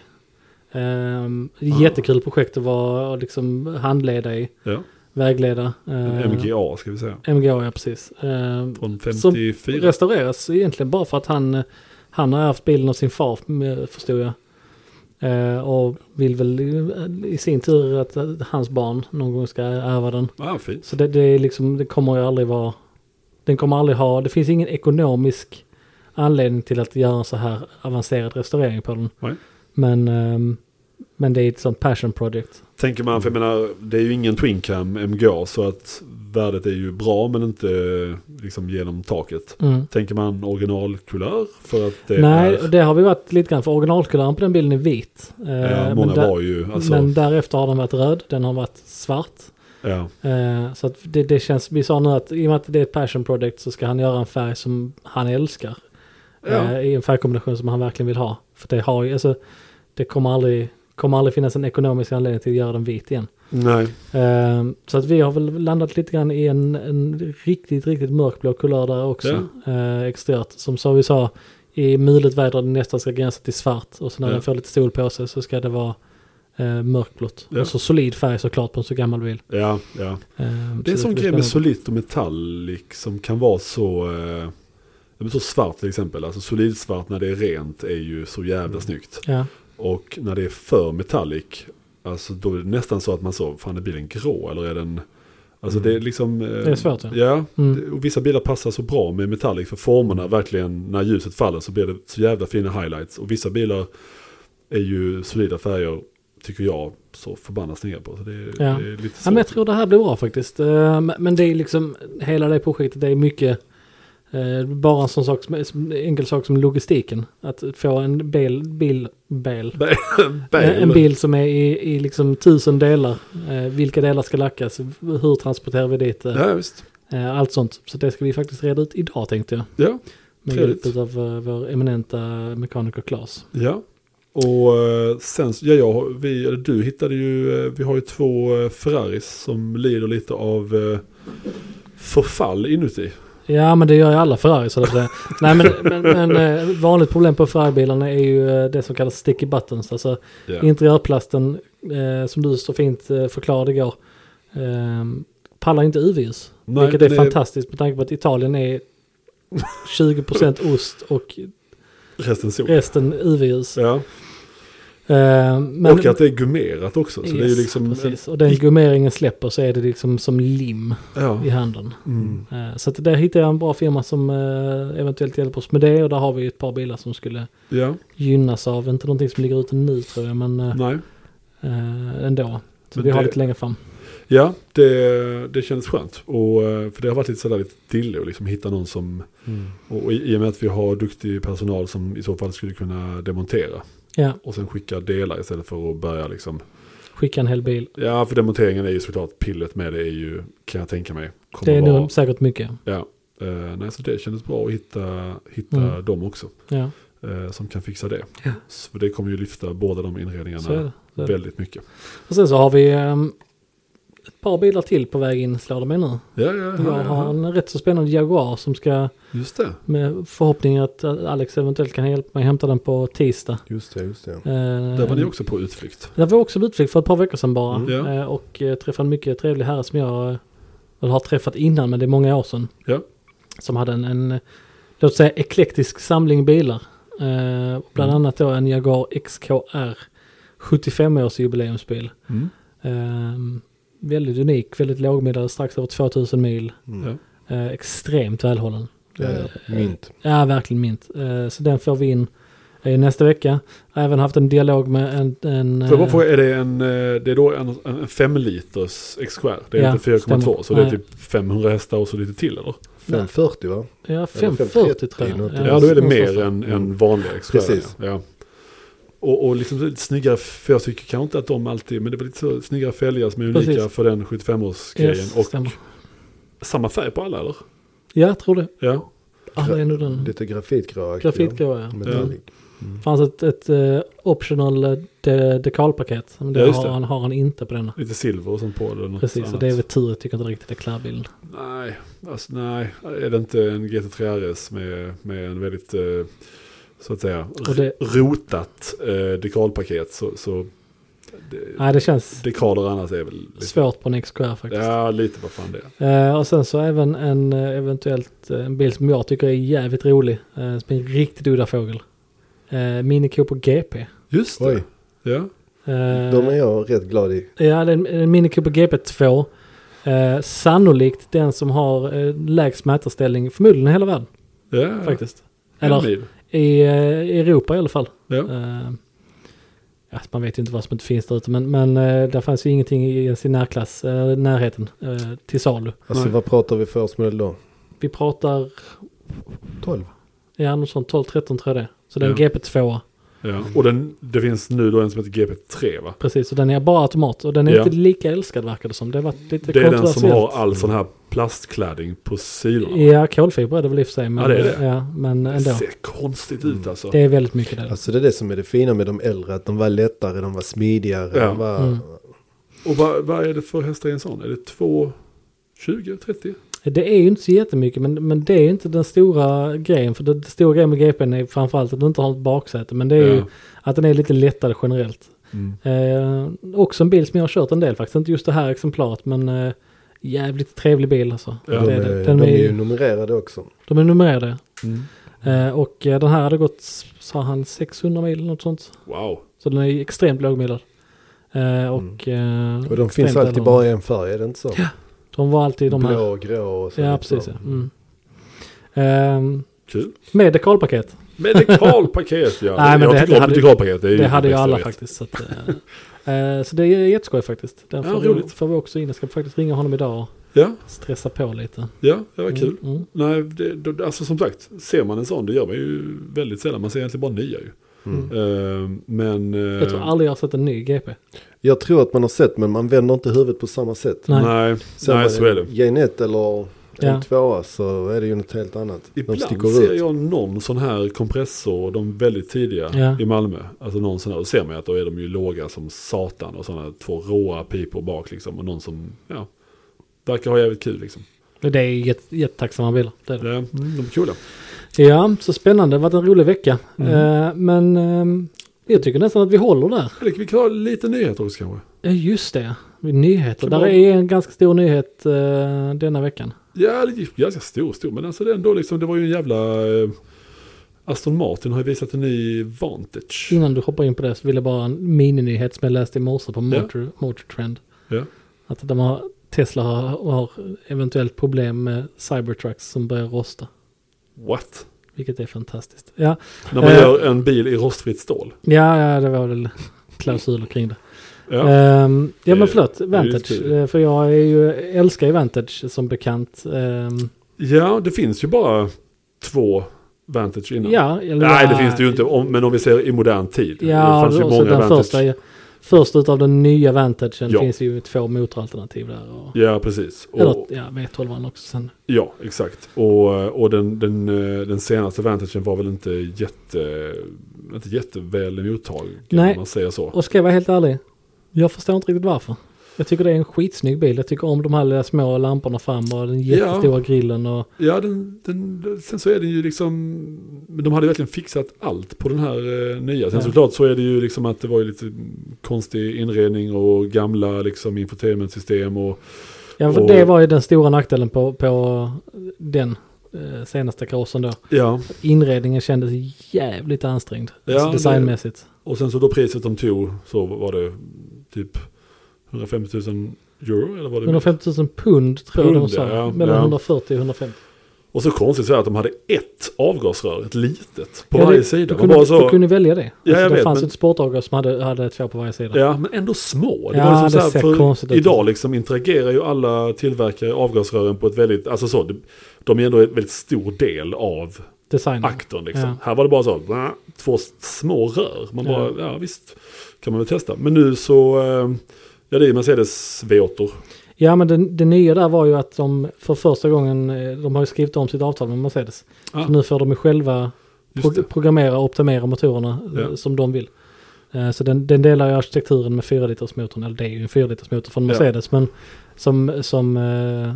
Speaker 1: Ehm, Jättekul projekt att vara och liksom handleda i,
Speaker 2: Ja,
Speaker 1: vägleda.
Speaker 2: en
Speaker 1: Eh,
Speaker 2: MGA ska vi säga.
Speaker 1: MGA, ja precis. Ehm,
Speaker 2: Från
Speaker 1: Som
Speaker 2: 54.
Speaker 1: restaureras egentligen bara för att han, eh, han har haft bilen av sin far, m- förstod jag. Eh, och vill väl i- i sin tur att eh, hans barn någon gång ska ärva den.
Speaker 2: Ah, fint.
Speaker 1: Så det, det, är liksom, det kommer ju aldrig vara... Den kommer aldrig ha... Det finns ingen ekonomisk anledning till att göra en så här avancerad restaurering på den.
Speaker 2: Nej.
Speaker 1: Men, ehm, men det är ett sånt passion project.
Speaker 2: Tänker man, för jag menar, det är ju ingen Twin Cam MGA så att värdet är ju bra men inte liksom genom taket.
Speaker 1: Mm.
Speaker 2: Tänker man originalkulör för att det
Speaker 1: Nej,
Speaker 2: är...
Speaker 1: och det har vi varit lite grann för originalkulören på den bilden är vit. Eh,
Speaker 2: Ja,
Speaker 1: men,
Speaker 2: många
Speaker 1: där-
Speaker 2: var ju, alltså,
Speaker 1: men därefter har den varit röd, den har varit svart.
Speaker 2: ja,
Speaker 1: Eh, så att det, det känns, vi sa nu att i och med att det är ett passion project så ska han göra en färg som han älskar.
Speaker 2: Ja.
Speaker 1: Eh, I en färgkombination som han verkligen vill ha. För det har ju, alltså, det kommer aldrig, kommer aldrig finnas en ekonomisk anledning till att göra den vit igen.
Speaker 2: nej,
Speaker 1: Eh, så att vi har väl landat lite grann i en, en riktigt, riktigt mörkblå kulör där också. Eh, exteriört. Som så vi sa, i mulet väder den nästan ska gränsa till svart. Och så när
Speaker 2: Ja.
Speaker 1: den får lite sol på sig så ska det vara Eh, mörkblått.
Speaker 2: Ja.
Speaker 1: Och så solid färg såklart på en så gammal bil.
Speaker 2: Ja, ja.
Speaker 1: Eh,
Speaker 2: Det är en
Speaker 1: så
Speaker 2: sån
Speaker 1: blir
Speaker 2: grej
Speaker 1: spännande.
Speaker 2: med solitt och metallic som kan vara så, eh, ja, men så svart till exempel. Alltså solidsvart när det är rent är ju så jävla
Speaker 1: Mm.
Speaker 2: snyggt.
Speaker 1: Ja,
Speaker 2: Och när det är för metallic, alltså då är det nästan så att man så, fan är bilen grå eller är den... Alltså det är liksom... eh,
Speaker 1: Mm. det är svårt. Ja.
Speaker 2: Ja,
Speaker 1: Mm.
Speaker 2: det- och vissa bilar passar så bra med metallic för formerna verkligen, när ljuset faller så blir det så jävla fina highlights. Och vissa bilar är ju solida färger, tycker jag, så förbannat snygga på. Så det är,
Speaker 1: Ja.
Speaker 2: det är lite
Speaker 1: Ja, men jag tror det här blir bra faktiskt. Eh, men- Men det är liksom hela det projektet det är mycket eh, bara en sån sak som, som- enkel sak som logistiken. Att få en bil, bil, bil. En en bil som är i, i liksom tusen delar. Eh, vilka delar ska lackas? Hur transporterar vi dit? Eh,
Speaker 2: Ja, visst.
Speaker 1: eh, allt sånt. Så det ska vi faktiskt reda ut idag tänkte jag.
Speaker 2: Ja,
Speaker 1: Med
Speaker 2: Trevligt.
Speaker 1: hjälp av eh, vår eminenta mekaniker Claes.
Speaker 2: ja. Och eh, sen, så- ja, ja, vi, eller du hittade ju, eh, vi har ju två eh, Ferraris som lider lite av eh, förfall inuti.
Speaker 1: Ja men det gör ju alla Ferrari så att säga. Nej men, men, men eh, vanligt problem på Ferraribilarna är ju eh, det som kallas sticky buttons. Alltså
Speaker 2: Ja.
Speaker 1: interiörplasten eh, som du så fint eh, förklarade igår. Eh, pallar inte UV-ljus.
Speaker 2: Nej,
Speaker 1: Vilket är
Speaker 2: det är-
Speaker 1: fantastiskt med tanke på att Italien är 20% ost och
Speaker 2: Resten så.
Speaker 1: resten UV-ljus.
Speaker 2: Ja.
Speaker 1: Eh, men-
Speaker 2: och att det är gummerat också. Så det är ju
Speaker 1: Yes,
Speaker 2: liksom... en-
Speaker 1: precis. Och den gummeringen släpper så är det liksom som lim
Speaker 2: Ja.
Speaker 1: i handen.
Speaker 2: Mm.
Speaker 1: Eh, Så att där hittade jag en bra firma som eh, eventuellt hjälper oss med det. Och där har vi ju ett par bilar som skulle
Speaker 2: ja.
Speaker 1: gynnas av. Inte någonting som ligger ute nu tror jag, men eh,
Speaker 2: Nej.
Speaker 1: eh, ändå. Så
Speaker 2: Men
Speaker 1: vi har
Speaker 2: det-
Speaker 1: lite längre fram.
Speaker 2: Ja, det, det kändes skönt. Och, eh, för det har varit lite sådär lite dillo, liksom hitta någon som...
Speaker 1: Mm.
Speaker 2: Och, och i i och med att vi har duktig personal som i så fall skulle kunna demontera.
Speaker 1: Ja,
Speaker 2: Och sen skicka delar istället för att börja liksom...
Speaker 1: skicka en hel bil.
Speaker 2: Ja, för demonteringen är ju såklart pillet med det är ju, kan jag tänka mig. kommer
Speaker 1: Det är
Speaker 2: vara-
Speaker 1: nog säkert mycket.
Speaker 2: Ja. Eh, nej, så det kändes bra att hitta, hitta
Speaker 1: Mm.
Speaker 2: dem också.
Speaker 1: Ja,
Speaker 2: eh, som kan fixa det.
Speaker 1: Ja.
Speaker 2: Så det kommer ju lyfta båda de inredningarna
Speaker 1: så är det. Så är det.
Speaker 2: väldigt mycket.
Speaker 1: Och sen så har vi ehm, ett par bilar till på väg in slår det mig nu.
Speaker 2: Ja, ja,
Speaker 1: Jag
Speaker 2: ja,
Speaker 1: har
Speaker 2: ja.
Speaker 1: en rätt så spännande Jaguar som ska
Speaker 2: Just det.
Speaker 1: Med förhoppning att att Alex eventuellt kan hjälpa mig hämta den på tisdag. Eh,
Speaker 3: Just det, just det.
Speaker 2: Där var ni också på utflykt.
Speaker 1: Där var jag också på utflykt för ett par veckor sedan bara.
Speaker 2: Mm, ja.
Speaker 1: Eh, Och eh, träffade en mycket trevlig herre som jag eh, väl har träffat innan men det är många år sedan.
Speaker 2: Ja.
Speaker 1: Som hade en, en eh, låt säga eklektisk samling bilar. Eh, och Bland
Speaker 2: Mm.
Speaker 1: annat då en Jaguar XKR 75-års jubileumsbil.
Speaker 2: Mm.
Speaker 1: Eh, väldigt unik, väldigt lågmedel, strax över 2000 mil.
Speaker 3: Mm.
Speaker 2: Ja.
Speaker 1: Eh, extremt välhållen.
Speaker 3: Ja, ja.
Speaker 1: Eh,
Speaker 3: Mint.
Speaker 1: Ja, verkligen mint. Eh, Så den får vi in eh, nästa vecka. Jag har även haft en dialog med en... en
Speaker 2: Får jag bara
Speaker 1: eh,
Speaker 2: fråga, är det, en, eh, det är då en, en 5 liters XKR? Det är
Speaker 1: Ja,
Speaker 2: inte 4,2 så det är
Speaker 1: stämmer.
Speaker 2: typ 500 hästar och så lite till eller?
Speaker 1: nej.
Speaker 3: 540 va?
Speaker 1: Ja, 540 tror jag.
Speaker 3: någonting.
Speaker 2: Ja, då är det
Speaker 1: någonstans
Speaker 2: mer
Speaker 1: där.
Speaker 2: än,
Speaker 3: Mm.
Speaker 2: än vanliga XKR.
Speaker 3: Precis.
Speaker 2: Ja. Ja. Och, och liksom lite snyggare, för jag tycker kanske inte att de alltid, men det var lite så snyggare fälgar som är unika
Speaker 1: Precis.
Speaker 2: för den 75-årsgrejen.
Speaker 1: Yes,
Speaker 2: och
Speaker 1: stämmer.
Speaker 2: samma färg på alla eller?
Speaker 1: Ja, jag tror det.
Speaker 2: Ja.
Speaker 1: Alla Ah, är nog den.
Speaker 3: Lite grafitgrå.
Speaker 1: Grafitgrå, ja.
Speaker 3: Metallic.
Speaker 1: fanns ett, ett eh, optional eh, de, dekalpaket. Men det,
Speaker 2: Ja, just
Speaker 1: har,
Speaker 2: det.
Speaker 1: han,
Speaker 2: Mm,
Speaker 1: har han inte på denna.
Speaker 2: Lite silver och sånt på det. och något
Speaker 1: Precis, så
Speaker 2: annat.
Speaker 1: det är väl tur. Jag tycker inte riktigt det klär bilden.
Speaker 2: Nej, alltså nej. Är det inte en GT3 RS med, med en väldigt, eh, så att säga,
Speaker 1: Och det-
Speaker 2: rotat eh, dekalpaket så, så det,
Speaker 1: Nej, det känns
Speaker 2: dekaler annars är väl lite,
Speaker 1: svårt på en XKR faktiskt.
Speaker 2: ja, lite vad fan det är.
Speaker 1: Eh, och sen så även en eh, eventuellt eh, en bil som jag tycker är jävligt rolig. Eh, som är en riktigt udda fågel. Eh, Mini Cooper GP.
Speaker 2: Just det.
Speaker 3: Oj,
Speaker 2: Ja.
Speaker 1: Eh,
Speaker 3: de är jag rätt glad i.
Speaker 1: Ja, det är en- en Mini Cooper GP2. Eh, sannolikt den som har eh, lägst mätarställning förmodligen i hela världen
Speaker 2: ja.
Speaker 1: faktiskt.
Speaker 2: En
Speaker 1: Eller
Speaker 2: mil.
Speaker 1: i eh, Europa i alla fall.
Speaker 2: Ja.
Speaker 1: Eh, ja, man vet ju inte vad som inte finns där ute men, men eh, där fanns ju ingenting i ens i närklass, eh, närheten eh, till salu.
Speaker 3: Alltså
Speaker 2: Nej.
Speaker 3: vad pratar vi för årsmodell då?
Speaker 1: Vi pratar
Speaker 3: 12?
Speaker 1: Ja, något sånt. 12-13 tror jag det är. Så den är
Speaker 2: Ja.
Speaker 1: GP2.
Speaker 2: ja. Och den, det finns nu då en som heter GP3 va?
Speaker 1: Precis, och den är bara automat. Och den är
Speaker 2: Ja.
Speaker 1: inte lika älskad verkar det som. Det har varit lite
Speaker 2: Det är den som
Speaker 1: kontroversiellt.
Speaker 2: har all sån här plastklädning på sidorna. va?
Speaker 1: Ja, kolfiber är det väl i och för sig. Men,
Speaker 2: Ja, det är det.
Speaker 1: Ja, men
Speaker 2: Det
Speaker 1: ändå.
Speaker 2: ser konstigt ut alltså.
Speaker 1: Det är väldigt mycket det.
Speaker 3: Alltså det är det som är det fina med de äldre, att de var lättare, de var smidigare.
Speaker 2: Ja.
Speaker 3: De var,
Speaker 1: Mm.
Speaker 2: Och vad, vad är det för hästar i en sån? Är det 2, 20, 30?
Speaker 1: Det är ju inte så jättemycket, men, men det är inte den stora grejen. För den stora grejen med GPn är framförallt att den inte har ett baksäte. Men det är ju
Speaker 2: Ja.
Speaker 1: att den är lite lättare generellt.
Speaker 2: Mm.
Speaker 1: Eh, också en bil som jag har kört en del faktiskt. Inte just det här exemplaret men eh, jävligt trevlig bil alltså.
Speaker 2: Ja,
Speaker 1: det
Speaker 3: de,
Speaker 1: är,
Speaker 3: är,
Speaker 1: det. Den
Speaker 3: de är
Speaker 1: är,
Speaker 3: ju numrerade också.
Speaker 1: de är numrerade.
Speaker 2: Mm.
Speaker 1: Eh, och eh, den här hade gått, sa han, 600 mil något sånt.
Speaker 2: Wow.
Speaker 1: Så den är ju extremt lågmilad. Eh, och, eh,
Speaker 3: Mm. Och de finns
Speaker 1: extremt
Speaker 3: alltid
Speaker 1: välhållna.
Speaker 3: bara i en färg, är det inte så?
Speaker 1: De var alltid de här.
Speaker 3: Blå, grå och så.
Speaker 1: Ja,
Speaker 3: lite
Speaker 1: precis.
Speaker 3: så.
Speaker 1: Ja. Mm. Ehm,
Speaker 2: Kul.
Speaker 1: med dekalpaket.
Speaker 2: Medikalpaket ja.
Speaker 1: Nej, men
Speaker 2: jag
Speaker 1: det-
Speaker 2: tycker
Speaker 1: det
Speaker 2: om
Speaker 1: hade-
Speaker 2: medikalpaket. Det, är ju
Speaker 1: Det hade ju
Speaker 2: bästa
Speaker 1: alla
Speaker 2: vet.
Speaker 1: faktiskt. Så, att, eh, eh, så det är jätteskoj faktiskt. Den
Speaker 2: Ja,
Speaker 1: får, vi,
Speaker 2: roligt.
Speaker 1: får vi också in. Jag ska faktiskt ringa honom idag och
Speaker 2: Ja,
Speaker 1: stressa på lite.
Speaker 2: ja, det var kul.
Speaker 1: Mm, mm.
Speaker 2: Nej, det, då- alltså som sagt, ser man en sån, det gör man ju väldigt sällan. Man ser egentligen bara nya ju.
Speaker 3: Mm.
Speaker 2: Ehm, men... eh,
Speaker 1: Jag tror aldrig jag har sett en ny GP.
Speaker 3: Jag tror att man har sett men man vänder inte huvudet på samma sätt.
Speaker 1: Nej.
Speaker 2: Nej,
Speaker 3: Sen
Speaker 2: nej
Speaker 3: var
Speaker 2: så är det.
Speaker 3: Gen 1 eller
Speaker 1: Ja.
Speaker 3: en tvåa så är det ju något helt annat. de
Speaker 2: Ibland
Speaker 3: sticker
Speaker 2: ser
Speaker 3: ut.
Speaker 2: jag någon sån här kompressor, de väldigt tidiga
Speaker 1: Ja.
Speaker 2: i Malmö. Alltså någon sån här, då ser man ju att då är de ju låga som satan och sådana två råa pipor bak liksom. Och någon som, ja, verkar ha jävligt kul liksom.
Speaker 1: Men Det är ju jätte, jättetacksamma bilar. Det är det.
Speaker 2: Det, De är coola.
Speaker 1: Ja, så spännande. Det har varit en rolig vecka.
Speaker 2: Mm.
Speaker 1: Eh, men ehm, jag tycker nästan att vi håller där.
Speaker 2: Eller vi kan ha lite nyheter också kanske.
Speaker 1: Ja, just det. Nyheter.
Speaker 2: Kan
Speaker 1: Där
Speaker 2: man-
Speaker 1: är en ganska stor nyhet eh, denna veckan.
Speaker 2: Ja, det är ju ganska stor, stor. Men alltså det är ändå liksom, det var ju en jävla... Eh, Aston Martin har ju visat en ny Vantage.
Speaker 1: Innan du hoppar in på det så vill jag bara en mininyhet som jag läste i morse på Motor, Motor Trend.
Speaker 2: Ja.
Speaker 1: Att de har, Tesla har, har eventuellt problem med Cybertrucks som börjar rosta.
Speaker 2: What?
Speaker 1: Vilket är fantastiskt. Ja,
Speaker 2: När man
Speaker 1: Eh.
Speaker 2: gör en bil i rostfritt stål.
Speaker 1: ja, ja det var väl klausuler kring det.
Speaker 2: Ja,
Speaker 1: Ja, ja men
Speaker 2: Det-
Speaker 1: förlåt,
Speaker 2: det är
Speaker 1: Vantage.
Speaker 2: just det.
Speaker 1: Eh, För jag är ju, älskar ju Vantage som bekant. Ehm,
Speaker 2: ja det finns ju bara två Vantage innan.
Speaker 1: ja, eller,
Speaker 2: Nej, det finns det ju inte. Om, men om vi ser i modern tid. det
Speaker 1: Ja,
Speaker 2: fanns
Speaker 1: och
Speaker 2: ju
Speaker 1: så
Speaker 2: många
Speaker 1: den
Speaker 2: Vantage.
Speaker 1: första, är- första utav den nya Vantagen
Speaker 2: Ja.
Speaker 1: finns ju två motoralternativ där. Och,
Speaker 2: Ja, precis.
Speaker 1: Eller
Speaker 2: Och,
Speaker 1: ja, V12 också sen.
Speaker 2: ja, exakt. Och, och den, den, eh, den senaste Vantagen var väl inte, jätte, inte jätteväl mottagen
Speaker 1: Nej.
Speaker 2: om man säger så.
Speaker 1: Och ska jag vara helt ärlig, jag förstår inte riktigt varför. Jag tycker det är en skitsnygg bil. Jag tycker om de här lilla små lamporna fram och den jättestora grillen. Och,
Speaker 2: Ja, den, den, sen så är den ju liksom, men de hade verkligen fixat allt på den här eh, nya. Sen
Speaker 1: Ja.
Speaker 2: såklart så är det ju liksom att det var ju lite konstig inredning och gamla liksom infotainmentsystem och
Speaker 1: ja, för
Speaker 2: Och-
Speaker 1: det var ju den stora nackdelen på, på den eh, senaste karossen då.
Speaker 2: ja.
Speaker 1: Inredningen kändes jävligt ansträngd
Speaker 2: Ja,
Speaker 1: alltså
Speaker 2: det-
Speaker 1: designmässigt.
Speaker 2: Och sen så då priset de tog så var det typ 150 000 euro eller var det?
Speaker 1: 150 000 pund tror jag de
Speaker 2: Pund,
Speaker 1: sa.
Speaker 2: ja,
Speaker 1: mellan
Speaker 2: ja.
Speaker 1: 140 och 150.
Speaker 2: Och så konstigt så här att de hade ett avgasrör, ett litet, på
Speaker 1: Ja,
Speaker 2: varje
Speaker 1: det-
Speaker 2: sida.
Speaker 1: Du
Speaker 2: Man
Speaker 1: kunde,
Speaker 2: bara så,
Speaker 1: du kunde välja det.
Speaker 2: Ja,
Speaker 1: alltså,
Speaker 2: jag
Speaker 1: det
Speaker 2: vet,
Speaker 1: fanns
Speaker 2: men-
Speaker 1: ett sportavgas som hade, hade två på varje sida.
Speaker 2: Ja, men ändå små. Det
Speaker 1: Ja,
Speaker 2: var liksom
Speaker 1: det
Speaker 2: så här,
Speaker 1: ser konstigt
Speaker 2: för
Speaker 1: ut.
Speaker 2: idag liksom interagerar ju alla tillverkare avgasrören på ett väldigt, alltså så, de- de är ändå en väldigt stor del av
Speaker 1: Design.
Speaker 2: aktorn liksom.
Speaker 1: Ja.
Speaker 2: Här var det bara så, "Bra", två s- små rör. Man bara,
Speaker 1: Ja.
Speaker 2: ja. visst, kan man väl testa. Men nu så, eh, ja det är Mercedes V8.
Speaker 1: Ja men det, det nya där var ju att de för första gången, eh, de har ju skrivit om sitt avtal med Mercedes.
Speaker 2: Ah.
Speaker 1: Så nu får de ju själva
Speaker 2: Just
Speaker 1: pro
Speaker 2: det.
Speaker 1: programmera och optimera motorerna eh,
Speaker 2: Ja.
Speaker 1: som de vill. Eh, Så den, den delar ju arkitekturen med 4-litersmotorn, eller det är ju en 4-litersmotor från
Speaker 2: Ja.
Speaker 1: Mercedes, men som, som eh,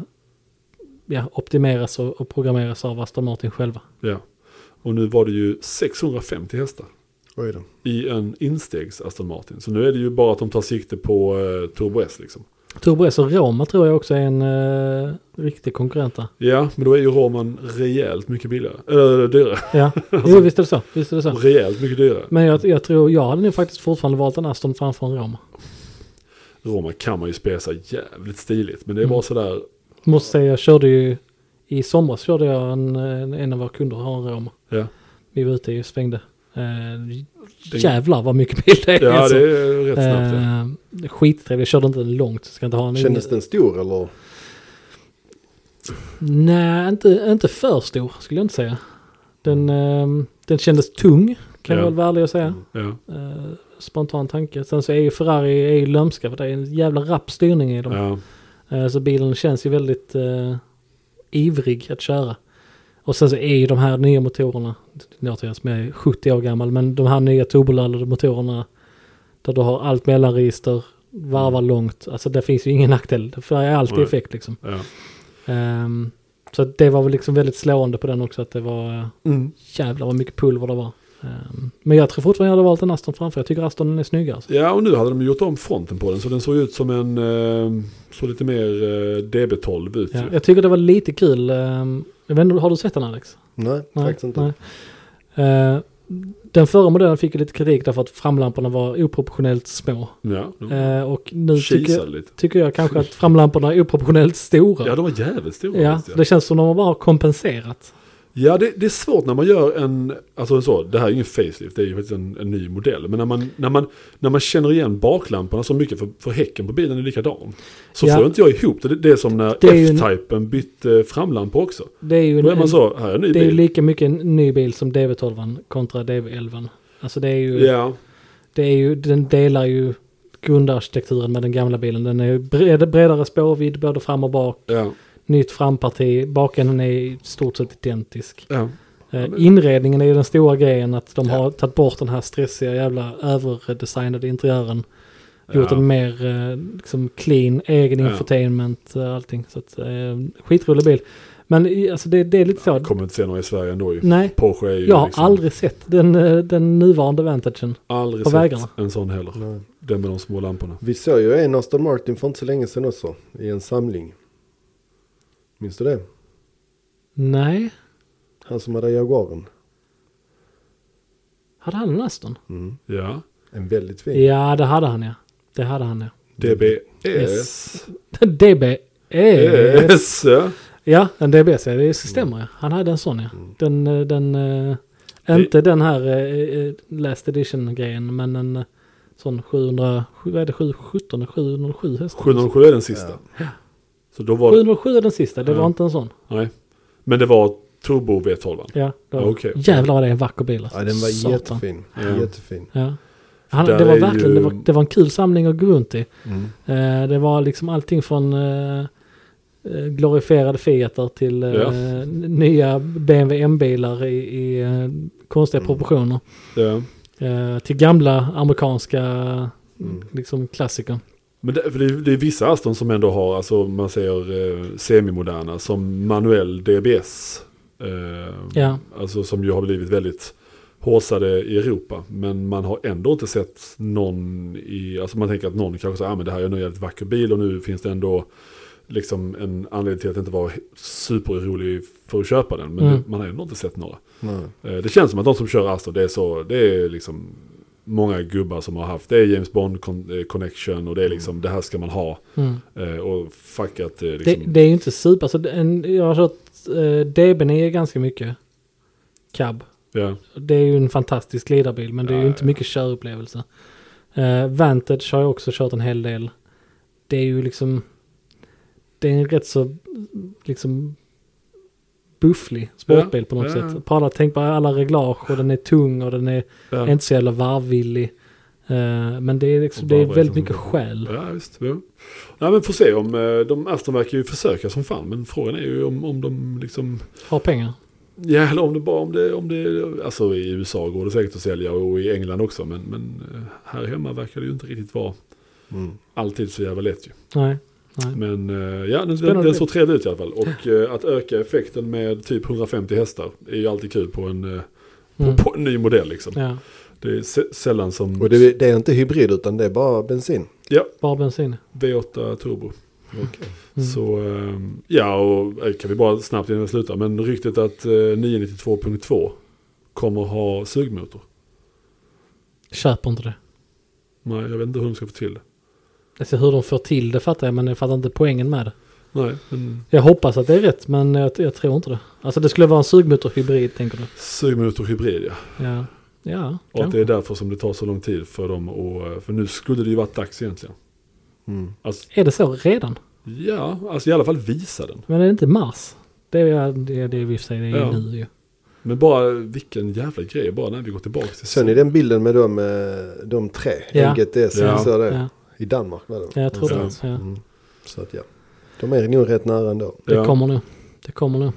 Speaker 1: ja, optimeras och, och programmeras av Aston Martin själva.
Speaker 2: Ja. Och nu var det ju 650 hästar.
Speaker 3: Oj då.
Speaker 2: i en instegs Aston Martin. Så nu är det ju bara att de tar sikte på eh, Turbo S liksom.
Speaker 1: Turbo S och Roma tror jag också är en eh, riktig konkurrent där.
Speaker 2: Ja, men då är ju Roman rejält mycket billigare. Eller dyrare.
Speaker 1: Ja, jo, visst är det så. Visst är det så.
Speaker 2: Rejält mycket dyrare.
Speaker 1: Men jag, jag tror, jag hade nu faktiskt fortfarande valt en Aston framför en Roma.
Speaker 2: Roma kan man ju spesa jävligt stiligt. Men det är
Speaker 1: Mm.
Speaker 2: bara sådär.
Speaker 1: Måste säga, jag körde ju i somras körde jag en, en- en av våra kunder har en Roma.
Speaker 2: Ja,
Speaker 1: Vi var ute och svängde. Eh, jävlar vad mycket bil det är.
Speaker 2: ja
Speaker 1: alltså.
Speaker 2: det är rätt snabbt. ja.
Speaker 1: Eh, skittrevlig, jag körde inte den långt. Så ska inte ha en
Speaker 3: Kändes den stor eller?
Speaker 1: Nej, inte, inte för stor skulle jag inte säga. Den, eh, den kändes tung, kan jag
Speaker 2: Ja. Mm.
Speaker 1: väl vara ärlig och säga.
Speaker 2: Ja.
Speaker 1: Eh, spontan tanke. Sen så är ju Ferrari är ju lömska för det är en jävla rapp styrning i dem.
Speaker 2: Ja.
Speaker 1: Eh, Så bilen känns ju väldigt eh, ivrig att köra. Och sen så är ju de här nya motorerna, det låter jag som jag är 70 år gammal, men de här nya turboladdade motorerna där du har allt mellanregister, varvar långt, alltså det finns ju ingen nackdel, för det är alltid
Speaker 2: Nej.
Speaker 1: effekt liksom.
Speaker 2: Ja.
Speaker 1: Ehm, så att det var väl liksom väldigt slående på den också att det var eh,
Speaker 2: Mm.
Speaker 1: jävlar vad mycket pulver det var. Ehm, Men jag tror fortfarande jag hade valt en Aston framför. Jag tycker Astonen är snyggare. Alltså.
Speaker 2: Ja, och nu hade de gjort om fronten på den så den såg ut som en, eh, såg lite mer eh, DB12 ut.
Speaker 1: Ja.
Speaker 2: ju.
Speaker 1: Jag tycker det var lite kul. ehm, Jag vet inte, har du sett den Alex?
Speaker 3: Nej, faktiskt inte.
Speaker 1: nej. Eh, Den förra modellen fick ju lite kritik därför att framlamporna var oproportionellt små.
Speaker 2: Ja, de
Speaker 1: Eh, Och nu
Speaker 2: kisade
Speaker 1: tycker,
Speaker 2: lite.
Speaker 1: tycker jag kanske att framlamporna är oproportionellt stora.
Speaker 2: Ja, de var jävligt stora.
Speaker 1: Ja,
Speaker 2: visst, ja.
Speaker 1: det känns som de bara har kompenserat.
Speaker 2: Ja, det, det är svårt när man gör en, alltså så, det här är ju ingen facelift, det är ju faktiskt en, en ny modell. Men när man, när, man, när man känner igen baklamporna så mycket, för, för häcken på bilen är likadan. Så
Speaker 1: Ja.
Speaker 2: får inte jag ihop det. Det- Det är som när
Speaker 1: Det är ju en-
Speaker 2: F-typen bytte framlampa också.
Speaker 1: Det är ju, en,
Speaker 2: Då är man så, här är en ny
Speaker 1: det är ju
Speaker 2: bil.
Speaker 1: lika mycket en ny bil som DB12 kontra DB11. Alltså det är ju,
Speaker 2: Ja,
Speaker 1: det är ju den delar ju grundarkitekturen med den gamla bilen. Den är ju bred, bredare spårvidd både fram och bak.
Speaker 2: ja,
Speaker 1: Nytt framparti, bakänden är i stort sett identisk.
Speaker 2: ja.
Speaker 1: Eh,
Speaker 2: men-
Speaker 1: Inredningen är ju den stora grejen att de
Speaker 2: Ja.
Speaker 1: har tagit bort den här stressiga jävla överdesignade interiören. Gjort
Speaker 2: Ja.
Speaker 1: den mer eh, liksom clean, egen
Speaker 2: Ja.
Speaker 1: infotainment eh, allting. Så att, eh, skitrolig bil. Men i- alltså det, det är lite så.
Speaker 2: Jag kommer inte se några i Sverige ändå ju.
Speaker 1: Nej,
Speaker 2: Porsche är ju
Speaker 1: jag har
Speaker 2: liksom
Speaker 1: aldrig sett den, eh, den nuvarande Vantagen.
Speaker 2: aldrig
Speaker 1: på
Speaker 2: sett
Speaker 1: vägarna.
Speaker 2: en sån heller.
Speaker 3: Nej.
Speaker 2: Den med de små lamporna.
Speaker 3: Vi såg ju en Aston Martin för inte så länge sedan också. I en samling. Minns du det?
Speaker 1: Nej,
Speaker 3: Han som hade Jaguaren.
Speaker 1: hade han en Aston?
Speaker 3: Mm.
Speaker 2: Ja,
Speaker 3: En väldigt fin.
Speaker 1: Ja, det hade han ja. Det hade han ja.
Speaker 2: DBS.
Speaker 1: Yes. E. DB.
Speaker 2: Yes. Ja.
Speaker 1: Ja, en DBS, ja, det
Speaker 2: Mm.
Speaker 1: stämmer ja. Han hade en sån ja. Den, eh, den eh, inte den här eh, eh, last edition-grejen, men en eh, sån 700, sju- vad är det, 717, 707 hästar?
Speaker 2: 707 är den sista. Så då var det,
Speaker 1: 707 är den sista, det
Speaker 2: Ja.
Speaker 1: var inte en sån.
Speaker 2: nej. Men det var turbo V12.
Speaker 1: Ja, det var,
Speaker 2: Ja, okej.
Speaker 1: Jävlar vad det är en vacker bil alltså.
Speaker 3: Ja, den var
Speaker 1: Satan.
Speaker 3: jättefin.
Speaker 2: Ja.
Speaker 3: Jättefin.
Speaker 1: Ja. Han,
Speaker 2: Där
Speaker 1: det var
Speaker 2: är
Speaker 1: verkligen,
Speaker 2: ju-
Speaker 1: det, var, det var en kul samling att gå runt i.
Speaker 3: Mm.
Speaker 1: Eh, det var liksom allting från eh, eh, glorifierade Fiatar till eh,
Speaker 2: Ja.
Speaker 1: n- nya BMW M-bilar i, i eh, konstiga proportioner.
Speaker 2: Ja.
Speaker 1: Eh, till gamla amerikanska
Speaker 3: Mm.
Speaker 1: liksom, klassiker.
Speaker 2: Men det, för det, är- det är vissa Aston som ändå har, alltså man säger eh, semimoderna, som manuell DBS. Eh,
Speaker 1: Ja.
Speaker 2: Alltså som ju har blivit väldigt håsade i Europa. Men man har ändå inte sett någon i, alltså man tänker att någon kanske säger, ah, men det här är en jävligt vacker bil och nu finns det ändå liksom en anledning till att inte vara superorolig för att köpa den. Men
Speaker 1: Mm.
Speaker 2: det, man har ändå inte sett några.
Speaker 3: Nej.
Speaker 2: Eh, Det känns som att de som kör Aston, det är så, det är liksom många gubbar som har haft, det är James Bond con- eh, connection och det är liksom, det här ska man ha.
Speaker 1: Mm.
Speaker 2: Eh, Och fuck att det är
Speaker 1: Det,
Speaker 2: liksom,
Speaker 1: det är ju inte super, så det- en, jag har kört eh, DB9 ganska mycket. Cab.
Speaker 2: ja,
Speaker 1: Det är ju en fantastisk ledarbil men det är ju
Speaker 2: Ja,
Speaker 1: inte mycket körupplevelse. Eh, Vantage har jag också kört en hel del. Det är ju liksom... Det är en rätt så liksom bufflig sportbil
Speaker 2: Ja,
Speaker 1: på något
Speaker 2: ja, ja.
Speaker 1: sätt. På alla, tänk på alla reglage och den är tung och den är
Speaker 2: ja,
Speaker 1: inte så jävla varvvillig. Eh, men det är, liksom,
Speaker 2: Och
Speaker 1: det är
Speaker 2: bara
Speaker 1: väldigt
Speaker 2: liksom-
Speaker 1: mycket själ.
Speaker 2: ja visst. Ja. Nej men får se om, eh, de Aston verkar ju försöka som fan, men frågan är ju om, om de liksom,
Speaker 1: Har pengar.
Speaker 2: ja eller om det bara, om det, om det, alltså i USA går det säkert att sälja och i England också, men, men eh, här hemma verkar det ju inte riktigt vara
Speaker 3: Mm.
Speaker 2: alltid så jävla lätt ju.
Speaker 1: Nej. nej.
Speaker 2: Men eh, ja, den, den,
Speaker 1: Spännande.
Speaker 2: den såg trevlig ut i alla fall. Och eh, att öka effekten med typ 150 hästar är ju alltid kul på en, eh,
Speaker 1: Mm.
Speaker 2: på, på en ny modell liksom.
Speaker 1: Ja,
Speaker 2: Det är sä- sällan som...
Speaker 3: Och det, det är inte hybrid utan det är bara bensin.
Speaker 2: Ja,
Speaker 1: bara bensin.
Speaker 2: V8 turbo.
Speaker 1: Mm.
Speaker 2: Så eh, ja, och eh, kan vi bara snabbt innan vi slutar. Men ryktet att eh, 992.2 kommer ha sugmotor.
Speaker 1: Köper inte det.
Speaker 2: Nej, jag vet inte hur de ska få till det.
Speaker 1: Alltså hur de får till det fattar jag men jag fattar inte poängen med det.
Speaker 2: Nej, men
Speaker 1: Jag hoppas att det är rätt men jag, jag tror inte det. Alltså det skulle vara en sugmotorhybrid tänker du?
Speaker 2: sugmotor hybrid ja.
Speaker 1: Ja, ja
Speaker 2: Och att
Speaker 1: kanske.
Speaker 2: det är därför som det tar så lång tid för dem att... eh, För nu skulle det ju varit dags egentligen.
Speaker 3: Mm.
Speaker 2: Alltså,
Speaker 1: Är det så redan?
Speaker 2: Ja, alltså i alla fall visa den.
Speaker 1: Men är det inte mars? Det är det, är- det är i och för sig det är
Speaker 2: Ja.
Speaker 1: nu ju.
Speaker 2: Men bara vilken jävla grej, bara när vi går tillbaka till
Speaker 3: Sen är den bilden med de, eh, de tre,
Speaker 1: Ja.
Speaker 3: LGTS,
Speaker 2: Ja.
Speaker 3: så det.
Speaker 1: Ja,
Speaker 3: i Danmark var det.
Speaker 1: ja, jag tror det.
Speaker 2: Någonstans.
Speaker 1: Ja.
Speaker 3: Mm. Så att ja, de är nog rätt nära ändå.
Speaker 1: Det
Speaker 2: Ja.
Speaker 1: kommer nu. Det kommer nu.
Speaker 2: Ja,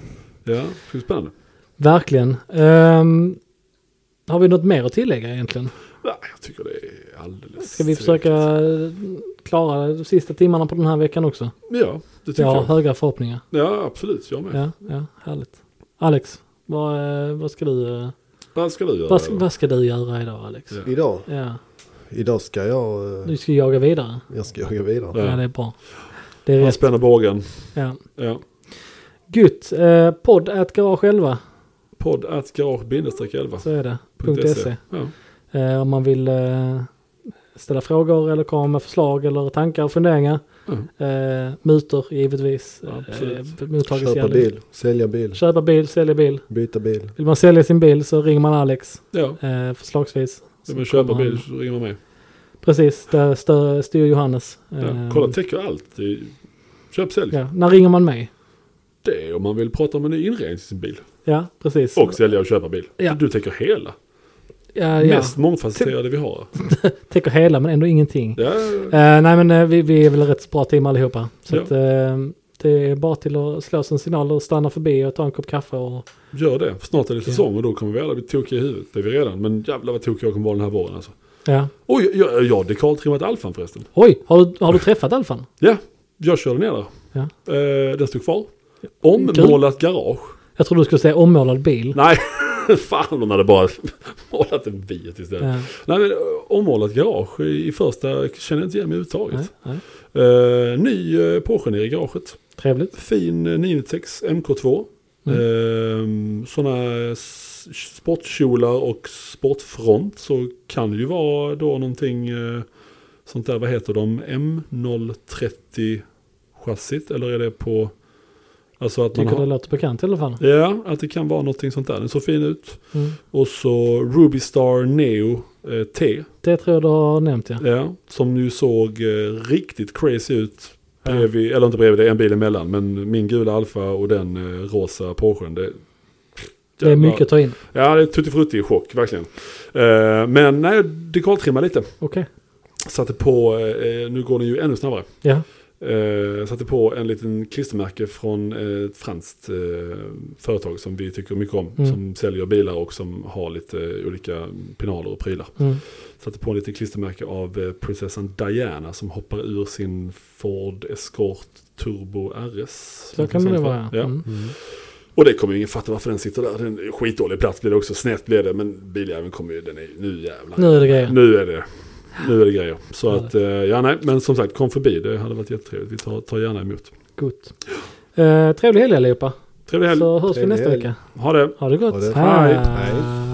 Speaker 2: det ska bli spännande.
Speaker 1: Verkligen. Ehm, har vi något mer att tillägga egentligen?
Speaker 2: Nej, jag tycker det är alldeles...
Speaker 1: Ska vi försöka eh,
Speaker 2: tillräckligt.
Speaker 1: klara de sista timmarna på den här veckan också?
Speaker 2: Ja, det tycker
Speaker 1: Jag har
Speaker 2: jag.
Speaker 1: höga förhoppningar.
Speaker 2: Ja, absolut. Jag med.
Speaker 1: Ja, ja, härligt. Alex, vad, eh, vad ska du... eh,
Speaker 2: Vad ska du göra?
Speaker 1: Vad,
Speaker 2: då?
Speaker 1: vad ska du göra idag Alex?
Speaker 2: Ja.
Speaker 3: Idag,
Speaker 1: Ja.
Speaker 3: idag ska jag, eh,
Speaker 1: Du ska jaga vidare.
Speaker 3: jag ska jaga vidare.
Speaker 2: Ja.
Speaker 1: Ja, det är bra. Det är
Speaker 2: Han
Speaker 1: rätt.
Speaker 2: spänner bågen.
Speaker 1: Ja.
Speaker 2: Ja.
Speaker 1: Gött. Eh, podd at garage 11.
Speaker 2: Podd at garage-11.
Speaker 1: Så är det. .se.
Speaker 2: E. Ja.
Speaker 1: Eh, om man vill eh, ställa frågor eller komma med förslag eller tankar och funderingar.
Speaker 2: Mm.
Speaker 1: Eh, mutor givetvis.
Speaker 2: Absolut.
Speaker 1: Eh, mottages
Speaker 3: Köpa
Speaker 1: gärna.
Speaker 3: bil, sälja bil,
Speaker 1: Köpa bil, sälja bil.
Speaker 3: byta bil.
Speaker 1: Vill man sälja sin bil så ringer man Alex
Speaker 2: ja.
Speaker 1: eh, förslagsvis. Så
Speaker 2: Vill man köpa
Speaker 1: kommer
Speaker 2: bil
Speaker 1: han-
Speaker 2: så ringer man mig.
Speaker 1: Precis, där stö- styr Johannes.
Speaker 2: Ja.
Speaker 1: Eh,
Speaker 2: Kolla, täcker allt. Det är ju- Köp, sälj.
Speaker 1: ja. När ringer man mig?
Speaker 2: Det är om man vill prata om en ny inredning till sin bil.
Speaker 1: Ja, precis.
Speaker 2: Och sälja och köpa bil.
Speaker 1: Ja.
Speaker 2: Du täcker hela.
Speaker 1: ja, ja.
Speaker 2: Mest mångfacetterade vi har.
Speaker 1: Täcker hela men ändå ingenting.
Speaker 2: Ja.
Speaker 1: Eh, nej men eh, vi, vi är väl rätt så bra team allihopa. Så
Speaker 2: Ja.
Speaker 1: att, eh, det är bara till att slå sin signal och stanna förbi och ta en kopp kaffe. Och,
Speaker 2: Gör det. För snart är det
Speaker 1: Ja.
Speaker 2: säsong och då kommer vi alla bli tokiga i huvudet. Det är vi redan. Men jävlar vad tokiga jag kommer vara den här våren alltså.
Speaker 1: ja.
Speaker 2: Oj, jag jag- jag har dekaltrimmat alfan förresten.
Speaker 1: Oj, har du, har du träffat Alfan?
Speaker 2: Ja, jag körde ner där.
Speaker 1: Ja.
Speaker 2: Eh, den stod kvar. Ommålat garage.
Speaker 1: Jag tror du skulle säga ommålad bil.
Speaker 2: Nej, fan hon hade bara målat en biet istället.
Speaker 1: Eh,
Speaker 2: Nej men eh, ommålat garage i i första känner jag inte igen mig
Speaker 1: nej,
Speaker 2: överhuvudtaget.
Speaker 1: nej.
Speaker 2: Eh, ny eh, Porsche nere i garaget.
Speaker 1: Trevligt.
Speaker 2: Fin eh, 996 MK2.
Speaker 1: Mm.
Speaker 2: Eh, Sådana sportkjolar och sportfront så kan det ju vara då någonting eh, sånt där, vad heter de, M030 chassit eller är det på, alltså att man
Speaker 1: Tycker det
Speaker 2: har,
Speaker 1: låter bekant i alla fall.
Speaker 2: ja, att det kan vara någonting sånt där, den såg fin ut.
Speaker 1: Mm.
Speaker 2: Och så Ruby Star Neo eh, T,
Speaker 1: Det tror jag du har nämnt ja.
Speaker 2: ja, som ju såg eh, riktigt crazy ut. Bredvid, Eller inte bredvid, det är en bil emellan. Men min gula Alfa och den eh, rosa Porschen. Det,
Speaker 1: Det är mycket att ta in.
Speaker 2: Ja, det är tutti frutti i chock, verkligen. Eh, men nej, dekaltrimmade lite.
Speaker 1: Okej.
Speaker 2: Satte på, eh, nu går den ju ännu snabbare.
Speaker 1: Ja.
Speaker 2: Eh, satte på en liten klistermärke från eh, ett franskt eh, företag som vi tycker mycket om.
Speaker 1: Mm.
Speaker 2: Som säljer bilar och som har lite eh, olika pinaler och prylar.
Speaker 1: Mm.
Speaker 2: Satte på en liten klistermärke av eh, prinsessan Diana som hoppar ur sin Ford Escort Turbo RS.
Speaker 1: Så kan det nog
Speaker 2: Sånt,
Speaker 1: vara.
Speaker 2: Ja.
Speaker 1: Ja. Mm.
Speaker 2: Och det kommer ju ingen fatta varför den sitter där. Den är skitdålig plats blir det också. Snett blir det. Men biljäveln kommer ju. Den är, nu jävlar.
Speaker 1: Nu är det grejer.
Speaker 2: Nu är det. Nu är det grejer. Så att, eh, ja nej. Men som sagt, kom förbi. Det hade varit jättetrevligt. Vi tar, tar gärna emot.
Speaker 1: Gott. Eh, trevlig helg allihopa.
Speaker 2: Trevlig helg.
Speaker 1: Så hörs vi
Speaker 3: Trevlig
Speaker 1: nästa
Speaker 3: helg.
Speaker 1: vecka.
Speaker 2: Ha det.
Speaker 1: Ha det gott.
Speaker 3: Ha det.
Speaker 1: Hej.
Speaker 3: Hej.